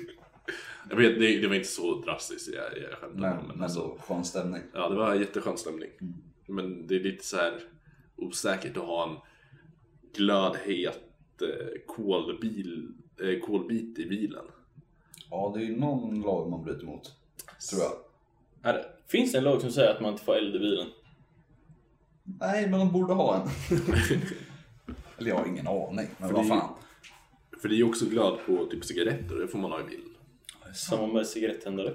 [SPEAKER 4] (laughs) jag vet, det, det var inte så drastiskt jag, jag skämtar
[SPEAKER 7] Men,
[SPEAKER 4] men
[SPEAKER 7] men
[SPEAKER 4] alltså,
[SPEAKER 7] ändå, skön stämning.
[SPEAKER 4] Ja, det var en jätteskön stämning. Men det är lite så här osäkert att ha en glödhet eh, kolbil, eh, kolbit i bilen.
[SPEAKER 7] Ja, det är ju någon lag man bryter mot. Tror jag.
[SPEAKER 5] Är det? Finns det en lag som säger att man inte får eld i bilen?
[SPEAKER 7] Nej, men de borde ha
[SPEAKER 4] (laughs)
[SPEAKER 7] en. Eller jag har ingen aning, men
[SPEAKER 4] För
[SPEAKER 7] vad
[SPEAKER 4] det är ju-
[SPEAKER 7] fan.
[SPEAKER 4] För det är ju också glöd på typ cigaretter och det får man ha i bilen.
[SPEAKER 5] Samma med cigarettändare.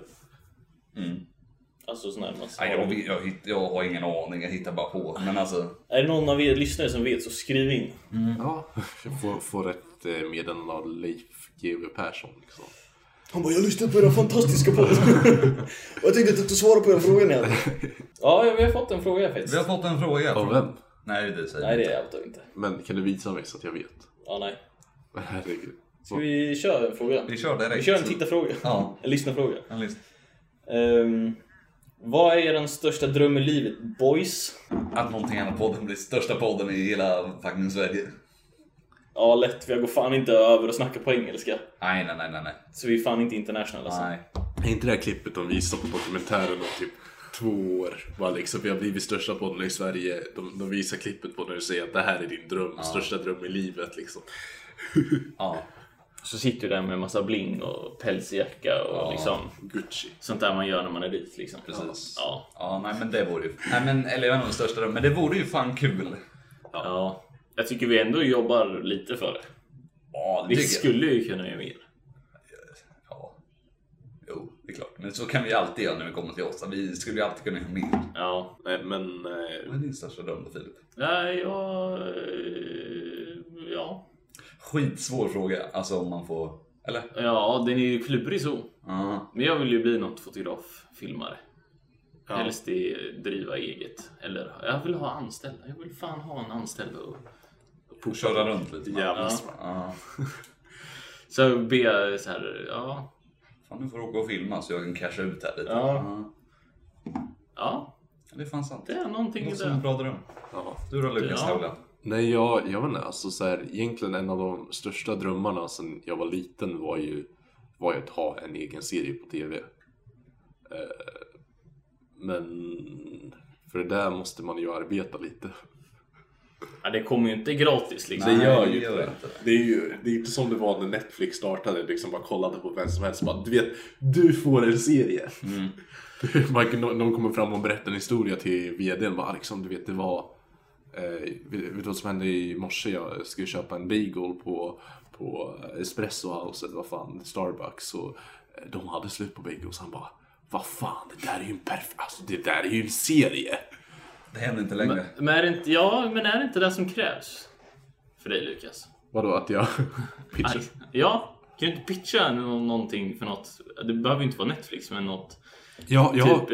[SPEAKER 5] Alltså sån här man
[SPEAKER 1] Mm. Nej, jag, vet- jag, hitt- jag har ingen aning, jag hittar bara på. Men alltså,
[SPEAKER 5] Är det någon av er lyssnare som vet så skriv in.
[SPEAKER 4] Ja, (laughs) jag får, får ett eh, meddelande av Leif GW Persson liksom.
[SPEAKER 5] Han bara, jag lyssnade på era fantastiska podd. (laughs) och jag tänkte att du inte svarade på den frågan igen. (laughs) ja, vi har fått en fråga faktiskt.
[SPEAKER 1] vi har fått en fråga.
[SPEAKER 4] Av vem?
[SPEAKER 1] Nej, det säger
[SPEAKER 5] Nej,
[SPEAKER 1] jag
[SPEAKER 5] det
[SPEAKER 1] inte.
[SPEAKER 5] är jag inte.
[SPEAKER 4] Men kan du visa mig så att jag vet?
[SPEAKER 5] Ja, nej.
[SPEAKER 4] Herregud.
[SPEAKER 5] Ska vi köra en fråga?
[SPEAKER 1] Vi kör direkt.
[SPEAKER 5] Vi kör en tittarfråga.
[SPEAKER 1] Ja.
[SPEAKER 5] (laughs) En lyssnarfråga.
[SPEAKER 1] En list.
[SPEAKER 5] Ehm, vad är er största dröm i livet, boys?
[SPEAKER 1] Att någonting annat podden blir största podden i hela fucking Sverige.
[SPEAKER 5] Ja, lätt. Jag går fan inte över och snackar på engelska.
[SPEAKER 1] Nej, nej, nej, nej. nej.
[SPEAKER 5] Så vi är fan inte international alltså.
[SPEAKER 1] nej.
[SPEAKER 4] Är inte det här klippet de visar på dokumentären om typ två år? Bara liksom, vi har blivit största podden i Sverige. De, de visar klippet på när du säger att det här är din dröm, största dröm i livet liksom.
[SPEAKER 1] Ja.
[SPEAKER 5] Så sitter du där med massa bling och pälsjacka och liksom
[SPEAKER 4] Gucci.
[SPEAKER 5] sånt där man gör när man är dit liksom.
[SPEAKER 1] Precis.
[SPEAKER 5] Ja.
[SPEAKER 1] Ja, nej men det vore ju... Nej men, eller jag vet inte om det största drömmen, men det vore ju fan kul.
[SPEAKER 5] Ja. Jag tycker vi ändå jobbar lite för det.
[SPEAKER 1] Ja, det
[SPEAKER 5] Vi
[SPEAKER 1] tycker jag.
[SPEAKER 5] skulle ju kunna göra mer.
[SPEAKER 1] Ja. Jo, det är klart. Men så kan vi alltid göra när vi kommer till oss. Vi skulle ju alltid kunna göra mer.
[SPEAKER 5] Ja.
[SPEAKER 4] Nej, men...
[SPEAKER 1] Vad
[SPEAKER 4] Eh,
[SPEAKER 1] är din största dröm då Filip?
[SPEAKER 5] Nej, jag... eh, Ja.
[SPEAKER 1] Skitsvår fråga, alltså om man får... Eller?
[SPEAKER 5] Ja, den är ju klurig så.
[SPEAKER 1] Ja.
[SPEAKER 5] Men jag vill ju bli något fotograf, filmare.
[SPEAKER 4] Ja.
[SPEAKER 5] Helst i, driva eget. Eller jag vill ha anställda. Jag vill fan ha en anställd. Och...
[SPEAKER 1] Köra runt lite.
[SPEAKER 4] jävla
[SPEAKER 5] Ja.
[SPEAKER 4] smart.
[SPEAKER 1] Ja.
[SPEAKER 5] Så be jag så här, ja.
[SPEAKER 1] Fan, nu får du åka och filma så jag kan casha ut här lite.
[SPEAKER 5] Ja. Ja,
[SPEAKER 1] Ja, Det är fan sant.
[SPEAKER 5] det är någonting i
[SPEAKER 1] Låter som en
[SPEAKER 5] det.
[SPEAKER 1] bra dröm.
[SPEAKER 4] Ja.
[SPEAKER 1] Du då Lukas
[SPEAKER 5] Ja.
[SPEAKER 1] Tavlan?
[SPEAKER 4] Nej, jag, jag vet inte. Alltså, så här, egentligen en av de största drömmarna sen jag var liten var ju, var ju att ha en egen serie på TV. Eh, men för det där måste man ju arbeta lite.
[SPEAKER 5] Ja, det kommer ju inte gratis liksom.
[SPEAKER 4] Det gör
[SPEAKER 1] Nej,
[SPEAKER 4] ju
[SPEAKER 1] det
[SPEAKER 4] inte
[SPEAKER 1] gör
[SPEAKER 4] det. Det är ju det är inte som det var när Netflix startade, liksom bara kollade på vem som helst bara, du vet, du får en serie. (laughs) Man, nå- någon kommer fram och berättar en historia till vdn bara, liksom, du vet, det var, eh, vet, vet du vad som hände i morse? Jag skulle köpa en bagel på, på Espresso House, eller vad fan, Starbucks. Och eh, de hade slut på bagels. Han bara, vad fan, det där är ju en perfekt, alltså det där är ju en serie.
[SPEAKER 1] Det händer inte längre.
[SPEAKER 5] Men är det inte, ja, men är det inte det som krävs? För dig Lukas?
[SPEAKER 4] Vadå att jag (laughs) pitchar?
[SPEAKER 5] Nej. Ja, kan du inte pitcha nå- någonting för något? Det behöver ju inte vara Netflix, men något.
[SPEAKER 4] Ja, jag,
[SPEAKER 5] Typ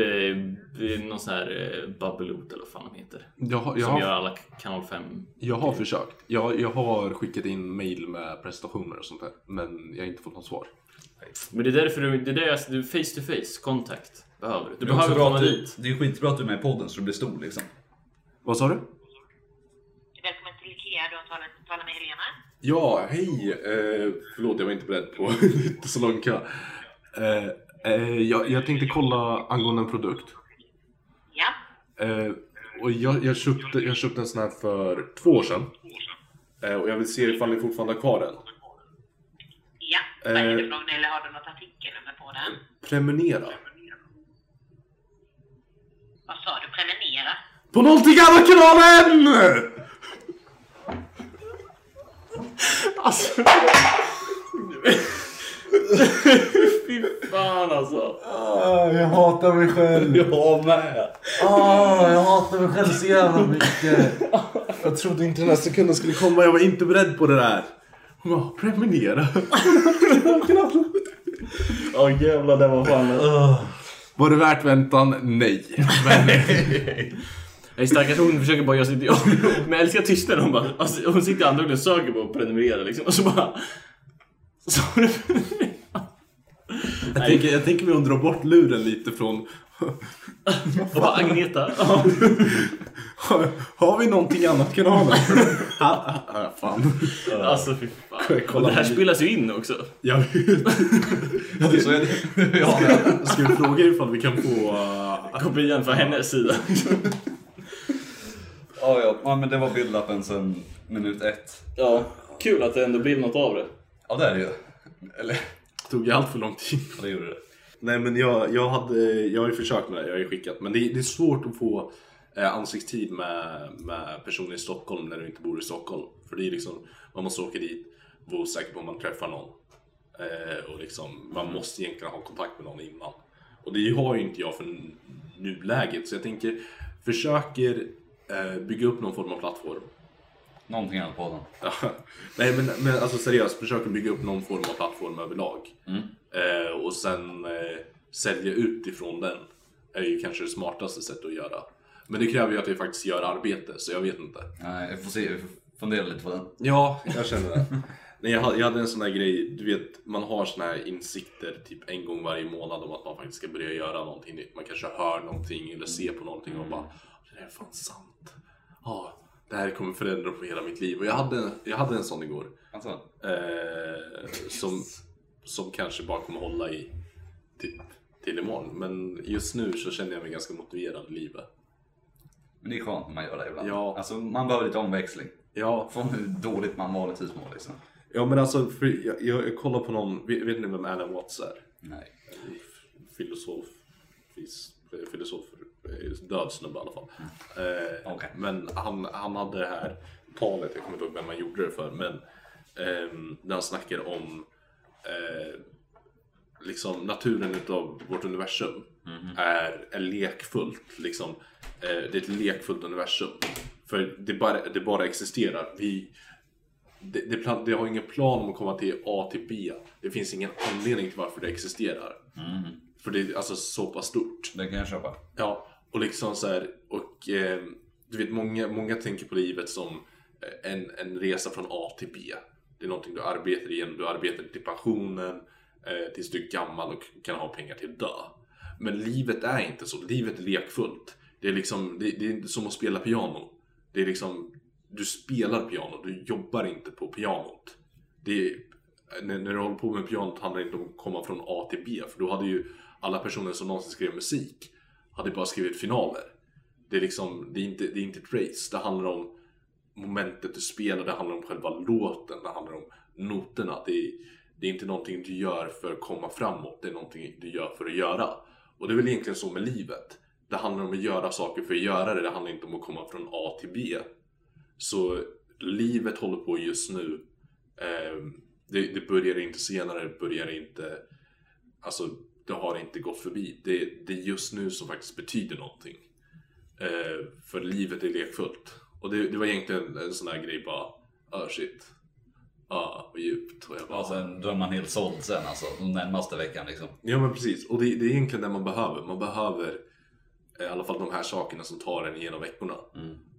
[SPEAKER 5] eh, någon sån här eh, Babbeloot eller vad fan de heter.
[SPEAKER 4] jag, jag,
[SPEAKER 5] Som
[SPEAKER 4] jag,
[SPEAKER 5] gör alla kanal 5.
[SPEAKER 4] Jag har försökt. Jag, jag har skickat in mail med presentationer och sånt där. Men jag har inte fått något svar.
[SPEAKER 5] Men det är därför du, det är det, alltså, du face to face kontakt behöver du. Du
[SPEAKER 1] Det är också
[SPEAKER 5] behöver
[SPEAKER 1] bra
[SPEAKER 5] komma
[SPEAKER 1] att du,
[SPEAKER 5] dit.
[SPEAKER 1] det är skitbra att du är med i podden så du blir stor liksom.
[SPEAKER 4] Vad sa du?
[SPEAKER 2] Välkommen till IKEA, du har talat, talat med Helena.
[SPEAKER 4] Ja, hej! Eh, förlåt, jag var inte beredd på (laughs) så lång kö. Eh, eh, jag, jag tänkte kolla angående en produkt.
[SPEAKER 2] Ja,
[SPEAKER 4] Eh, och jag, jag, köpte, jag köpte en sån här för två år sedan. Eh, och jag vill se ifall ni fortfarande har kvar den.
[SPEAKER 2] ja. Vad är det
[SPEAKER 4] Eh.
[SPEAKER 2] för någon, eller har du något artikelnummer på den?
[SPEAKER 4] Prenumerera.
[SPEAKER 2] Vad sa du? Prenumerera?
[SPEAKER 4] På någonting annat kanalen! Alltså...
[SPEAKER 5] Fy fan alltså.
[SPEAKER 3] Ah, jag hatar mig själv.
[SPEAKER 1] Jag med!
[SPEAKER 3] Ah, jag hatar mig själv så jävla mycket. Jag trodde inte den här sekunden skulle komma. Jag var inte beredd på det där. Hon bara, prenumerera.
[SPEAKER 5] (laughs) Ja jävlar det var fan. uh.
[SPEAKER 4] Var det värt väntan? Nej. Men
[SPEAKER 5] Nej stackars hon försöker bara göra sitt jobb. (laughs) Men jag älskar tystnaden. Hon bara. Alltså, hon sitter antagligen och söker på att prenumerera liksom. Och så bara. (laughs) Så har du
[SPEAKER 4] jag tänker, jag tänker mig att dra bort luren lite från...
[SPEAKER 5] Och bara Agneta. Ja.
[SPEAKER 4] Har, har vi någonting annat kanalen? Ah, ah, ah, fan.
[SPEAKER 5] Alltså fy fan.
[SPEAKER 4] Kolla
[SPEAKER 5] Och det här
[SPEAKER 4] på-
[SPEAKER 5] spelas ju in också.
[SPEAKER 4] Jag vet.
[SPEAKER 1] Så är det. Ja.
[SPEAKER 4] Ska vi fråga ifall vi kan få... eh,
[SPEAKER 5] Kopian från hennes sida.
[SPEAKER 1] Ja, ja. ja, men det var build-upen sen minut ett.
[SPEAKER 5] Ja. Kul att det ändå blev något av det.
[SPEAKER 1] Ja, det är det ju. Eller,
[SPEAKER 4] tog ju allt för lång tid.
[SPEAKER 1] ja, det gjorde det.
[SPEAKER 4] Nej men jag, jag, hade, jag har ju försökt med det, jag har ju skickat. Men det, det är svårt att få eh, ansiktstid med, med personer i Stockholm när du inte bor i Stockholm. För det är liksom, man måste åka dit, vara osäker på om man träffar någon. Eh, och liksom, man måste egentligen ha kontakt med någon innan. Och det har ju inte jag för n- nuläget. Så jag tänker, försöker eh, bygga upp någon form av plattform.
[SPEAKER 1] Någonting annat på den.
[SPEAKER 4] Ja. (laughs) Nej men, men alltså seriöst, försöker bygga upp någon form av plattform överlag. Eh, och sen eh, sälja ut ifrån den är ju kanske det smartaste sättet att göra. Men det kräver ju att vi faktiskt gör arbete, så jag vet inte.
[SPEAKER 1] Nej, jag får se. Jag får fundera lite på den.
[SPEAKER 4] Ja, jag känner det. Nej, jag, hade, jag hade en sån här grej, du vet, man har såna här insikter typ en gång varje månad om att man faktiskt ska börja göra någonting nytt. Man kanske hör någonting eller ser på någonting och bara, det där är fan sant. Ja, det här kommer förändra på hela mitt liv. Och jag hade, jag hade en sån igår.
[SPEAKER 1] Alltså,
[SPEAKER 4] Eh, som, som kanske bara kommer hålla i typ till imorgon. Men just nu så känner jag mig ganska motiverad i livet.
[SPEAKER 1] men det är skönt när man gör det ibland.
[SPEAKER 4] Ja.
[SPEAKER 1] Alltså, man behöver lite omväxling.
[SPEAKER 4] Ja,
[SPEAKER 1] Från hur dåligt man vanligtvis mår liksom.
[SPEAKER 4] ja men alltså för jag, jag, jag kollar på någon, vet, vet ni vem Alan Watts är?
[SPEAKER 1] Nej.
[SPEAKER 4] Filosof, fis, eh, filosof, eh, död snubbe i alla fall. Eh,
[SPEAKER 1] Okej.
[SPEAKER 4] Men han, han hade det här talet, jag kommer inte ihåg vem han gjorde det för, men ehm, där han snackar om eh, liksom naturen utav vårt universum är, är lekfullt. Liksom. Eh, det är ett lekfullt universum. För det bara, det bara existerar. Vi, det, det, plan, det har ingen plan om att komma till A till B. Det finns ingen anledning till varför det existerar. För det är alltså så pass stort.
[SPEAKER 1] Det kan jag köpa.
[SPEAKER 4] Ja, och liksom så här, och eh, du vet många, många tänker på livet som eh, en, en resa från A till B. Det är någonting du arbetar igenom, du arbetar till pensionen, eh, tills du är gammal och kan ha pengar till att dö. Men livet är inte så, livet är lekfullt. Det är liksom, det, det är som att spela piano. Det är liksom, du spelar piano, du jobbar inte på pianot. Det är, när, när du håller på med pianot handlar det inte om att komma från A till B, för då hade ju alla personer som någonsin skrev musik hade bara skrivit finaler. Det är liksom, det är inte, det är inte ett race. Det handlar om momentet du spelar, det handlar om själva låten, det handlar om noterna. Det är, det är inte någonting du gör för att komma framåt, det är någonting du gör för att göra. Och det är väl egentligen så med livet. Det handlar om att göra saker för att göra det, det handlar inte om att komma från A till B. Så livet håller på just nu. Ehm, Det, det börjar inte senare, det börjar inte alltså det har inte gått förbi. Det, det är just nu som faktiskt betyder någonting. Eh, för livet är lekfullt. Och det, det var egentligen en sån här grej bara, ah shit. Ah, vad djupt. Och jag bara,
[SPEAKER 1] Och sen, då är man helt såld sen alltså. Den närmaste veckan liksom.
[SPEAKER 4] Ja men precis, och det, det är egentligen det man behöver. Man behöver eh, i alla fall de här sakerna som tar en genom veckorna.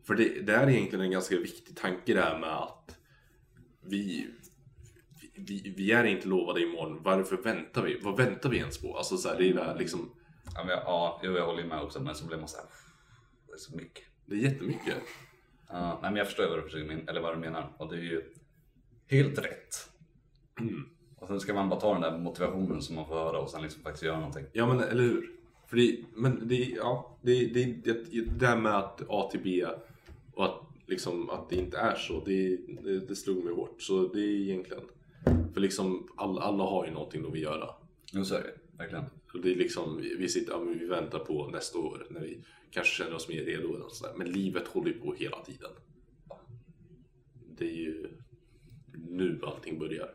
[SPEAKER 4] För det, det är egentligen en ganska viktig tanke det här med att vi, vi, vi är inte lovade imorgon. Varför väntar vi? Vad väntar vi ens på? Alltså så här, det är det här, liksom,
[SPEAKER 1] Ja, men jag, ja, jo, jag håller ju med också men så blir man såhär... Det är så mycket.
[SPEAKER 4] det är jättemycket.
[SPEAKER 1] Ja, nej men jag förstår vad du, försöker men- eller vad du menar och det är ju helt rätt. Och sen ska man bara ta den där motivationen som man får höra och sen liksom faktiskt göra någonting.
[SPEAKER 4] Ja men eller hur? För det, men det, ja, det, det, det, det här med att A till B och att, liksom, att det inte är så, det, det, det slog mig hårt. Så det är egentligen, för liksom alla, alla har ju någonting de vill göra.
[SPEAKER 1] Jo så är det verkligen.
[SPEAKER 4] Och det är liksom, vi, vi sitter, ja, men vi väntar på nästa år när vi kanske känner oss mer redo. Eller något sådär. Men livet håller ju på hela tiden. Det är ju nu allting börjar.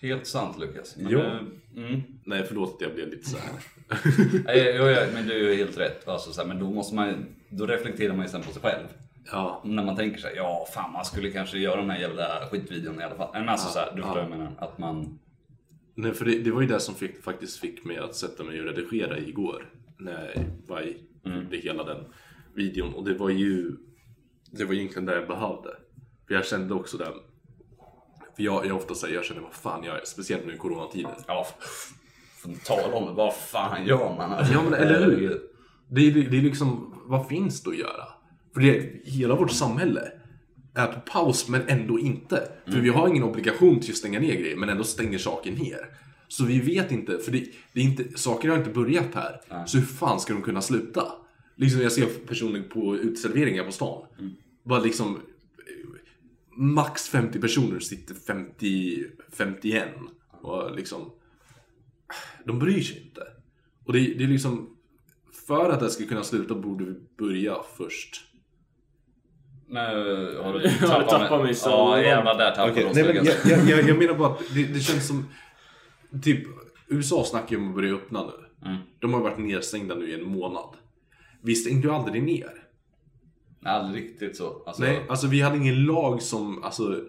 [SPEAKER 1] Helt sant Lukas. Men,
[SPEAKER 4] Ja.
[SPEAKER 1] eh, Mm.
[SPEAKER 4] Nej, förlåt att jag blev lite så här.
[SPEAKER 1] Nej, jo, ja, men du är helt rätt. Alltså, så här, men då, måste man, då reflekterar man ju sen på sig själv.
[SPEAKER 4] Ja.
[SPEAKER 1] När man tänker sig, ja fan man skulle kanske göra den här jävla skitvideon i alla fall. Men alltså så här, du förstår vad jag menar. Att man...
[SPEAKER 4] Nej, för det, det var ju det som fick, faktiskt fick mig att sätta mig och redigera igår. När jag gjorde hela den videon. Och det var ju det var egentligen det jag behövde. För jag kände också det. För jag, jag ofta säger, jag känner vad fan jag är. Speciellt nu i coronatider.
[SPEAKER 1] Ja, fan, tala om det. Vad fan gör man? Alltså,
[SPEAKER 4] Ja men eller hur? Det är, det är liksom, vad finns det att göra? För det, hela vårt samhälle är på paus men ändå inte. För vi har ingen obligation till att stänga ner grejer men ändå stänger saker ner. Så vi vet inte, för det, det är inte, saker har inte börjat här. Så hur fan ska de kunna sluta? Liksom jag ser personer på utserveringar på stan. Bara liksom eh, max 50 personer sitter 50, 51. Och liksom, de bryr sig inte. Och det, det är liksom, för att det ska kunna sluta borde vi börja först.
[SPEAKER 1] Nu har du
[SPEAKER 5] (laughs) Ja, tappat mig så
[SPEAKER 1] Ja
[SPEAKER 5] långt.
[SPEAKER 1] jävlar där tappade
[SPEAKER 4] Okej,
[SPEAKER 1] de
[SPEAKER 4] nej, men
[SPEAKER 1] stugan.
[SPEAKER 4] jag, jag, jag, jag menar bara att det, det känns som... Typ, USA snackar ju om att börja öppna nu. De har ju varit nedstängda nu i en månad. Vi stängde ju aldrig ner.
[SPEAKER 1] Nej, aldrig riktigt så. Alltså,
[SPEAKER 4] Nej, alltså vi hade ingen lag som alltså,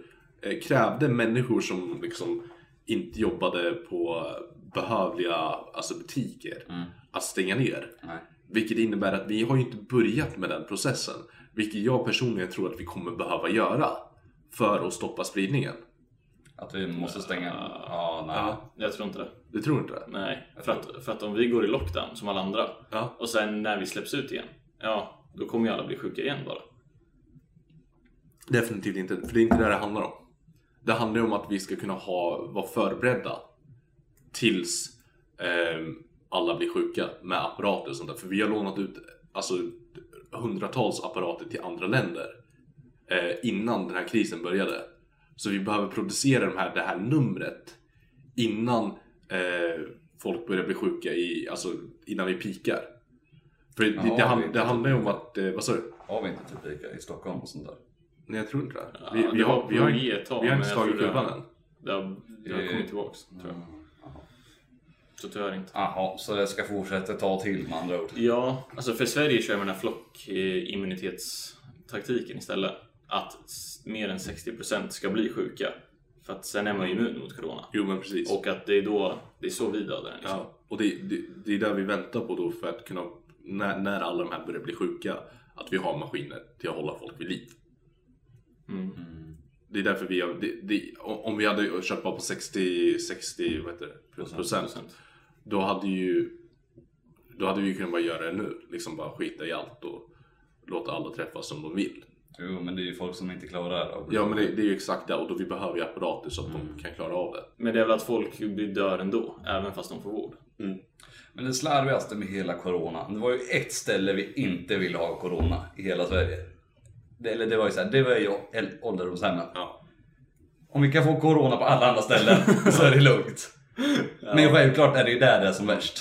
[SPEAKER 4] eh, krävde människor som liksom inte jobbade på behövliga alltså, butiker att stänga ner.
[SPEAKER 1] Nej.
[SPEAKER 4] Vilket innebär att vi har ju inte börjat med den processen. Vilket jag personligen tror att vi kommer behöva göra för att stoppa spridningen.
[SPEAKER 1] Att vi måste stänga.
[SPEAKER 5] Ah.
[SPEAKER 1] Ja, nej.
[SPEAKER 4] Ja.
[SPEAKER 5] Jag tror inte det.
[SPEAKER 4] Du tror inte det?
[SPEAKER 5] Nej, för att, för att om vi går i lockdown som alla andra
[SPEAKER 4] Ja.
[SPEAKER 5] och sen när vi släpps ut igen, ja, då kommer ju alla bli sjuka igen bara.
[SPEAKER 4] Definitivt inte, för det är inte det det handlar om. Det handlar ju om att vi ska kunna ha, vara förberedda tills ehm, alla blir sjuka med apparater och sånt där. För vi har lånat ut alltså, hundratals apparater till andra länder eh, innan den här krisen började. Så vi behöver producera de här, det här numret innan eh, folk börjar bli sjuka, i, alltså innan vi pikar. För det, det,
[SPEAKER 1] Ja,
[SPEAKER 4] hand-
[SPEAKER 1] det är
[SPEAKER 4] det handlar ju om att, eh, vad sa du?
[SPEAKER 1] Har vi inte typ lika i Stockholm och sånt där?
[SPEAKER 4] Nej jag tror inte det.
[SPEAKER 5] Ja,
[SPEAKER 4] Vi, vi,
[SPEAKER 5] det
[SPEAKER 4] har,
[SPEAKER 5] var
[SPEAKER 4] vi, har,
[SPEAKER 5] på
[SPEAKER 4] inte-
[SPEAKER 5] G ett tag,
[SPEAKER 4] vi har
[SPEAKER 5] men
[SPEAKER 4] inte
[SPEAKER 5] jag
[SPEAKER 4] slagit
[SPEAKER 5] tror det-
[SPEAKER 4] klubban än.
[SPEAKER 5] Det har, det har
[SPEAKER 1] Det-
[SPEAKER 5] kommit tillbaks, tror jag. Så tyvärr inte.
[SPEAKER 1] Jaha, så det ska fortsätta ett tag till med andra ord.
[SPEAKER 5] Ja, alltså för Sverige kör man den här flockimmunitetstaktiken istället. Att s- mer än 60% ska bli sjuka. För att sen är man ju immun mot corona.
[SPEAKER 4] Jo men precis.
[SPEAKER 5] Och att det är då, det är så vi dödar den. Liksom.
[SPEAKER 4] ja, och det, det, det är där vi väntar på då för att kunna, när, när alla de här börjar bli sjuka, att vi har maskiner till att hålla folk vid liv.
[SPEAKER 5] Mm.
[SPEAKER 4] Det är därför vi har, det, det, om vi hade köpt bara på 60, 60 vad heter det, plus procent, då hade ju då hade vi kunnat bara göra det nu. Liksom bara skita i allt och låta alla träffas som de vill.
[SPEAKER 1] Jo, men det är ju folk som inte klarar av
[SPEAKER 4] Ja men det, det är ju exakt det och då vi behöver ju apparater så att
[SPEAKER 5] Mm.
[SPEAKER 4] de kan klara av det.
[SPEAKER 5] Men det är väl att folk blir dör ändå, även fast de får vård.
[SPEAKER 1] Men det slarvigaste med hela corona, det var ju ett ställe vi inte ville ha corona i hela Sverige. Det, eller det var ju såhär, det var ju äl- ålderdomshemmen.
[SPEAKER 4] Ja.
[SPEAKER 1] Om vi kan få corona på alla andra
[SPEAKER 5] (laughs)
[SPEAKER 1] ställen så är det lugnt. Men självklart är det ju där det är som värst.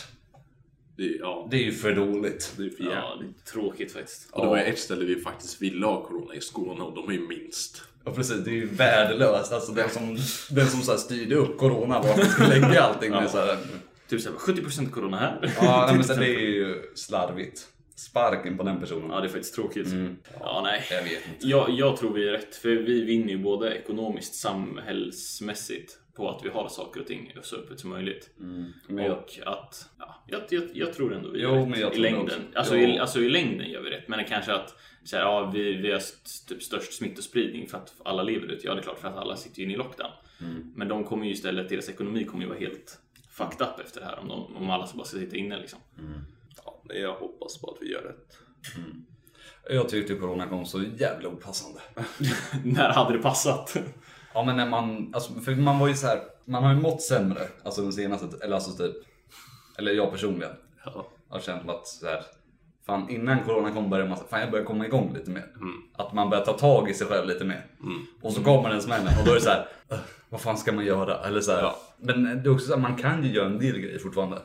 [SPEAKER 4] Det, ja,
[SPEAKER 1] Det är ju för dåligt.
[SPEAKER 4] det är för jävligt.
[SPEAKER 5] Ja, det är tråkigt faktiskt.
[SPEAKER 4] Och det var ju ett ställe vi faktiskt ville ha corona i Skåne och de är ju minst.
[SPEAKER 1] Och precis, det är ju värdelöst. Alltså den som, den som så här styrde upp corona, vart vi skulle lägga allting. Ja. Så här,
[SPEAKER 5] Typ såhär, 70% corona här.
[SPEAKER 1] ja, nej, men så det är ju slarvigt. Sparken på den personen.
[SPEAKER 5] (laughs) Ja, det är faktiskt tråkigt. Ja, nej.
[SPEAKER 1] Jag vet inte.
[SPEAKER 5] Jag, jag tror vi är rätt, för vi vinner ju både ekonomiskt samhällsmässigt på att vi har saker och ting så öppet som möjligt.
[SPEAKER 1] Men jag-
[SPEAKER 5] och att... Ja, jag, jag, jag tror ändå vi gör
[SPEAKER 1] Jo,
[SPEAKER 5] rätt
[SPEAKER 1] men jag
[SPEAKER 5] i
[SPEAKER 1] tror det
[SPEAKER 5] längden.
[SPEAKER 1] också.
[SPEAKER 5] Alltså,
[SPEAKER 1] Ja.
[SPEAKER 5] i, alltså i längden gör vi rätt, men kanske att så här, ja, vi, vi har st- typ störst smittospridning för att alla lever ut. Ja, det är klart, för att alla sitter ju inne i lockdown. Men de kommer ju istället, deras ekonomi kommer ju vara helt fucked up efter det här om, de, om alla bara ska sitta inne liksom.
[SPEAKER 4] Ja, nej, jag hoppas på att vi gör rätt.
[SPEAKER 1] Jag tyckte corona kom så jävla opassande.
[SPEAKER 5] (laughs) När hade det passat?
[SPEAKER 1] Ja men när man, alltså, för man var ju så här, man har ju mått sämre, alltså den senaste, eller alltså typ, eller jag personligen. Har känt att så här, fan innan corona kom började man, fan jag börjar komma igång lite mer. Att man börjar ta tag i sig själv lite mer. Och så kommer den smällen och då är det så här, "Ugh, vad fan ska man göra? Eller så här, Men det är också så här, man kan ju göra en del grejer fortfarande.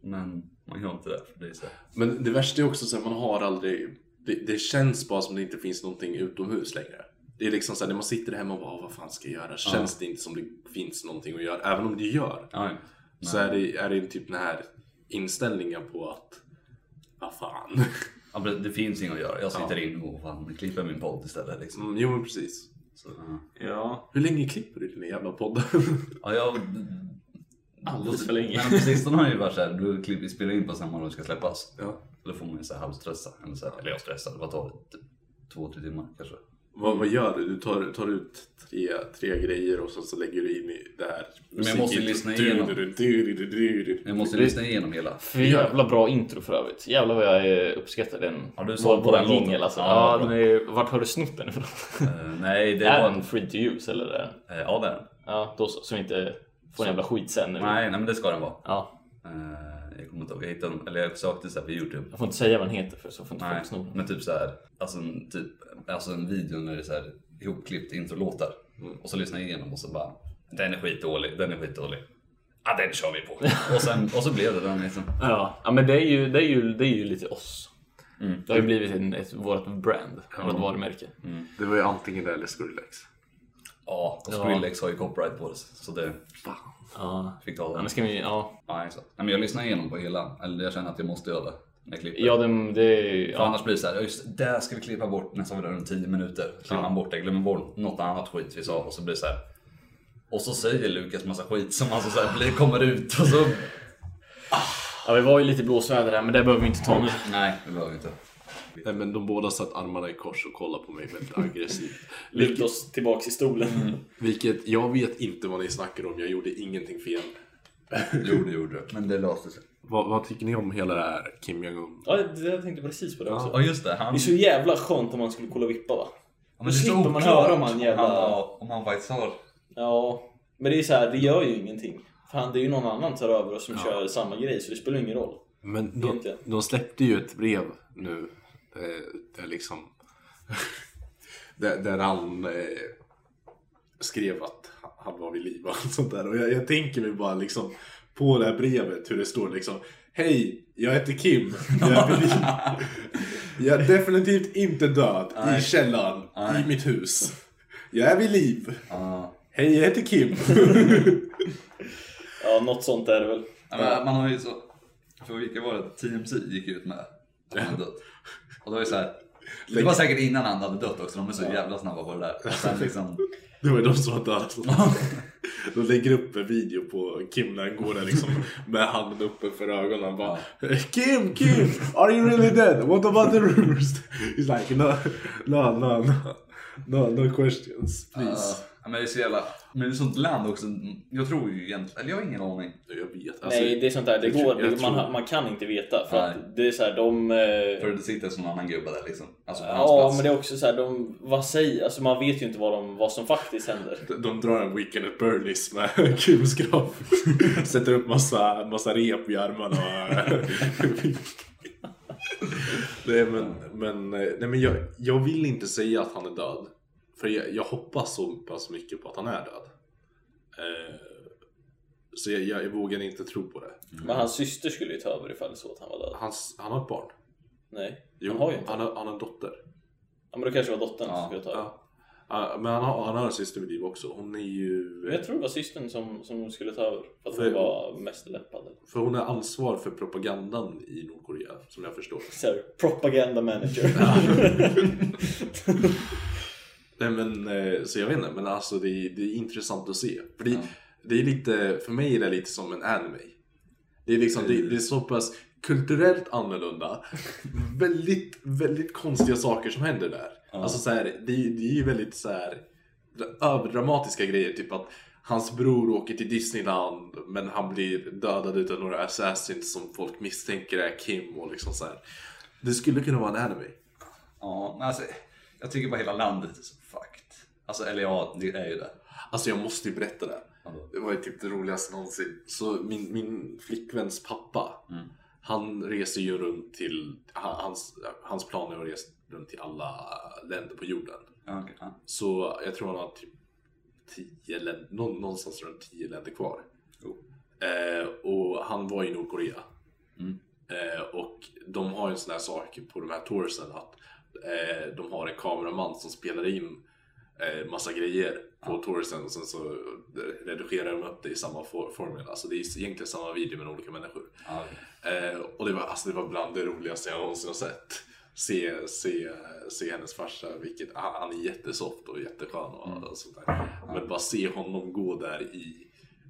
[SPEAKER 1] Men man gör inte det, för det är så här.
[SPEAKER 4] Men det värsta är också att man har aldrig... Det, det känns bara som det inte finns någonting utomhus längre. Det är liksom såhär, när man sitter hemma och bara "Åh, vad fan ska jag göra? Känns det inte som det finns någonting att göra? Även om det gör.
[SPEAKER 1] Ja, ja.
[SPEAKER 4] Så är det, är det typ den här inställningen på att, vad fan. (laughs)
[SPEAKER 1] Ja, men det finns inget att göra. Jag sitter in och fan, klipper min podd istället. Liksom.
[SPEAKER 4] Mm, jo men precis.
[SPEAKER 5] Ja,
[SPEAKER 4] Hur länge klipper du dina jävla poddar? (laughs)
[SPEAKER 1] Ja, jag...
[SPEAKER 5] alldeles för länge.
[SPEAKER 1] Men på sistone har jag ju varit såhär, du klipper- spelar in på samma dag det ska släppas.
[SPEAKER 4] ja.
[SPEAKER 1] Då får man ju såhär halvstressa. Eller, så här, eller jag stressar, vad tar det? Typ Två, tre timmar kanske.
[SPEAKER 4] vad, vad gör du? Du tar, tar ut tre, tre grejer och så, så lägger du in i det här.
[SPEAKER 1] Men jag måste ju lyssna igenom. Jag måste lyssna igenom hela.
[SPEAKER 5] För jävla bra intro för övrigt. Jävlar vad jag eh, uppskattar den.
[SPEAKER 1] Ja, du såg på
[SPEAKER 5] våran
[SPEAKER 1] den låten.
[SPEAKER 5] jingle alltså.
[SPEAKER 1] Ja,
[SPEAKER 5] Ja,
[SPEAKER 1] bra.
[SPEAKER 5] den är, vart har du snott den ifrån?
[SPEAKER 1] Eh, nej, det
[SPEAKER 5] är
[SPEAKER 1] var...
[SPEAKER 5] den free to use eller? Är den?
[SPEAKER 1] eh, ja, det är den.
[SPEAKER 5] Ja, då så. Så vi inte får en jävla skit sen. när vi-
[SPEAKER 1] Nej, nej, men det ska den vara.
[SPEAKER 5] Ja,
[SPEAKER 1] Eh, jag kommer inte ihåg, jag hittade den, eller jag sökte så här på youtube.
[SPEAKER 5] jag får inte säga vad den heter för så får inte
[SPEAKER 1] Nej,
[SPEAKER 5] folk sno den.
[SPEAKER 1] men typ så här, alltså en, typ, alltså en video när det är så här ihopklippt introlåtar. Och så lyssnar jag igenom och så bara, den är skitdålig, den är skitdålig. Ja, den kör vi på. och, sen, och så blev det den liksom.
[SPEAKER 5] Ja, ja men det är ju, det är ju, det är ju lite oss.
[SPEAKER 1] Mm.
[SPEAKER 5] Det har ju blivit en, ett, vårt brand, vårt varumärke.
[SPEAKER 4] Det var ju antingen det eller Skrillex.
[SPEAKER 1] Ja, och
[SPEAKER 5] Ja.
[SPEAKER 1] Skrillex har ju copyright på det. Så det
[SPEAKER 5] Ja.
[SPEAKER 1] fick ta
[SPEAKER 5] Ja,
[SPEAKER 1] den.
[SPEAKER 5] men ska vi, ja.
[SPEAKER 1] Ja, exakt. Nej, men jag lyssnar igenom på hela, eller jag känner att jag måste göra det. När jag klipper.
[SPEAKER 5] Ja, det, det
[SPEAKER 1] För
[SPEAKER 5] ja.
[SPEAKER 1] annars blir det så här, ja, just där ska vi klippa bort nästan vidare runt 10 minuter. Klipper man bort det, glömmer bort något annat skit vi sa och så blir det så här. Och så säger Lukas massa skit som alltså så här blir, kommer ut och så...
[SPEAKER 5] ja, vi var ju lite i blåsväder där, men det behöver vi inte ta nu.
[SPEAKER 1] Nej, det behöver vi inte.
[SPEAKER 4] Nej men de båda satt armarna i kors och kollade på mig väldigt aggressivt. (laughs)
[SPEAKER 5] Lyft oss tillbaks i stolen.
[SPEAKER 1] Mm.
[SPEAKER 4] Vilket, jag vet inte vad ni snackar om, jag gjorde ingenting fel.
[SPEAKER 1] Jo, det gjorde du. Men det löste sig.
[SPEAKER 4] Vad, vad tycker ni om hela det här Kim Jong-Un?
[SPEAKER 5] Ja, det- jag tänkte precis på det också.
[SPEAKER 1] Ja, just det. Han...
[SPEAKER 5] Det är så jävla skönt om man skulle kolla vippa va?
[SPEAKER 1] Ja, men det är så
[SPEAKER 5] slipper man
[SPEAKER 1] oklart
[SPEAKER 5] höra om han jävla-
[SPEAKER 1] ja, om han faktiskt har...
[SPEAKER 5] Ja, men det är så här, det gör ju ingenting. Fan, det är ju någon annan tar över och som kör samma grej så det spelar ingen roll.
[SPEAKER 4] Men de,
[SPEAKER 5] Egentligen.
[SPEAKER 4] de släppte ju ett brev nu. Där, där liksom... (laughs) där, där han eh, skrev att han var vid liv och allt sånt där. Och jag, jag tänker mig bara liksom på det här brevet hur det står liksom Hej, jag heter Kim. Jag är vid liv. (laughs) Jag är definitivt inte död i källaren i mitt hus. Jag är vid liv.
[SPEAKER 1] Ja.
[SPEAKER 4] Hej, jag heter Kim.
[SPEAKER 5] Ja, något sånt är det väl.
[SPEAKER 1] Ja, men man har ju så... För vilka var det? TMZ gick ut med att han hade dött. Och då är det så här... Det var säkert innan han hade dött också, de är så jävla snabba på det där.
[SPEAKER 4] (laughs)
[SPEAKER 1] Och sen liksom...
[SPEAKER 4] Det var ju de som var döda. De lägger upp en video på Kim när han går där liksom med handen uppe för ögonen. Bara, Kim, Kim, are you really dead? What about the rumors? He's like, no, no, no, no, no, no questions, please.
[SPEAKER 1] Ja, men det är så jävla... Men det är sånt land också. Jag tror ju egentligen... Eller jag har ingen aning.
[SPEAKER 4] jag vet.
[SPEAKER 5] Nej, det är sånt där, det
[SPEAKER 4] Alltså, jag
[SPEAKER 5] går,
[SPEAKER 4] tror- jag
[SPEAKER 5] det, man,
[SPEAKER 4] tror-
[SPEAKER 5] har- man kan inte veta. För
[SPEAKER 1] Nej.
[SPEAKER 5] att det är så här, de... eh,
[SPEAKER 1] För det sitter som en annan gubbe där liksom. Alltså på hans
[SPEAKER 5] Ja,
[SPEAKER 1] plats.
[SPEAKER 5] men det är också så här, de, vad säger, alltså man vet ju inte vad, de, vad som faktiskt händer.
[SPEAKER 4] De drar en Weekend at Burleys med (laughs) Kims grav. Sätter upp massa, massa rep i armarna. (laughs) nej men, men, nej, men jag, jag vill inte säga att han är död. För jag, jag hoppas så pass mycket på att han är död. Eh, så jag, jag, jag vågar inte tro på det.
[SPEAKER 5] Men hans syster skulle ju ta över ifall det så att han var död.
[SPEAKER 4] Hans, han har ett barn.
[SPEAKER 5] Nej,
[SPEAKER 4] Jo,
[SPEAKER 5] han har ju inte.
[SPEAKER 4] han, har, han har en dotter.
[SPEAKER 5] Ja, men då kanske det var dottern
[SPEAKER 1] Ja,
[SPEAKER 5] som skulle ta över.
[SPEAKER 4] Ja. Ja, men han har, han har en syster vid liv också. Hon är ju...
[SPEAKER 5] Men jag tror det var systern som, som skulle ta över. För att
[SPEAKER 4] För-
[SPEAKER 5] hon var mest lämpad.
[SPEAKER 4] För hon är ansvarig för propagandan i Nordkorea, som jag förstår.
[SPEAKER 5] Så här, propaganda manager.
[SPEAKER 4] Nej men, eh, så jag vet inte, men alltså det är, det är intressant att se. För det, det är lite, för mig är det lite som en anime. Det är liksom, det, det är så pass kulturellt annorlunda. väldigt, väldigt konstiga saker som händer där. Alltså så här, det, är- det är ju väldigt så här överdramatiska grejer, typ att Hans bror åker till Disneyland men han blir dödad utav några assassins som folk misstänker är Kim och liksom så här. Det skulle kunna vara en anime.
[SPEAKER 1] Ja, men alltså, jag tycker bara hela landet är så fucked. Alltså, eller ja, det är ju det.
[SPEAKER 4] Alltså jag måste ju berätta det. Det var ju typ det roligaste någonsin. Så min, min flickväns pappa, han reser ju runt till, ha- hans, hans plan är att resa runt till alla länder på jorden.
[SPEAKER 1] Ja, okej, ja.
[SPEAKER 4] Så jag tror han har typ 10 länder, nå- någonstans runt 10 länder kvar.
[SPEAKER 1] Jo.
[SPEAKER 4] Eh, och han var i Nordkorea.
[SPEAKER 1] Mm.
[SPEAKER 4] Eh, och de har ju en sån här sak på de här toursen att eh, de har en kameraman som spelar in eh, massa grejer på Torsen och sen så eh, redigerar de upp det i samma for- formel. Alltså det är egentligen samma video men olika människor.
[SPEAKER 1] Ja, okej.
[SPEAKER 4] Eh, och det var, alltså, det var bland det roligaste jag någonsin har sett. Se, se, se hennes farsa, vilket, han, han är jättesoft och jätteskön och, och sånt där. Men bara se honom gå där i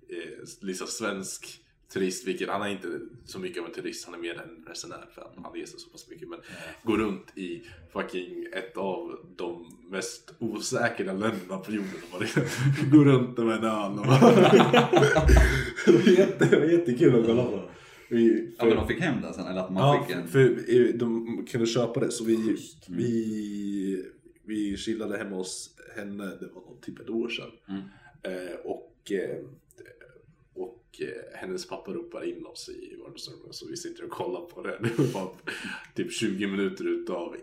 [SPEAKER 4] eh, liksom svensk turist, vilket han är inte så mycket av en turist, han är mer en resenär för han, han
[SPEAKER 7] Mm.
[SPEAKER 4] reser så pass mycket. Men gå runt i fucking ett av de mest osäkra länderna på jorden och (laughs) bara gå runt med en öl och bara... (laughs) det, var jätte, det var jättekul att kolla på. Vi-
[SPEAKER 7] Ja, men de fick hem den sen, eller att man
[SPEAKER 4] Ja,
[SPEAKER 7] fick en...
[SPEAKER 4] för eh, de kunde köpa det så vi, vi, vi chillade hemma hos henne, det var nog typ ett år sedan.
[SPEAKER 7] Mm.
[SPEAKER 4] Eh, och, eh, och eh, hennes pappa ropar in oss i vardagsrummet så vi sitter och kollar på det. Det var bara typ 20 minuter utav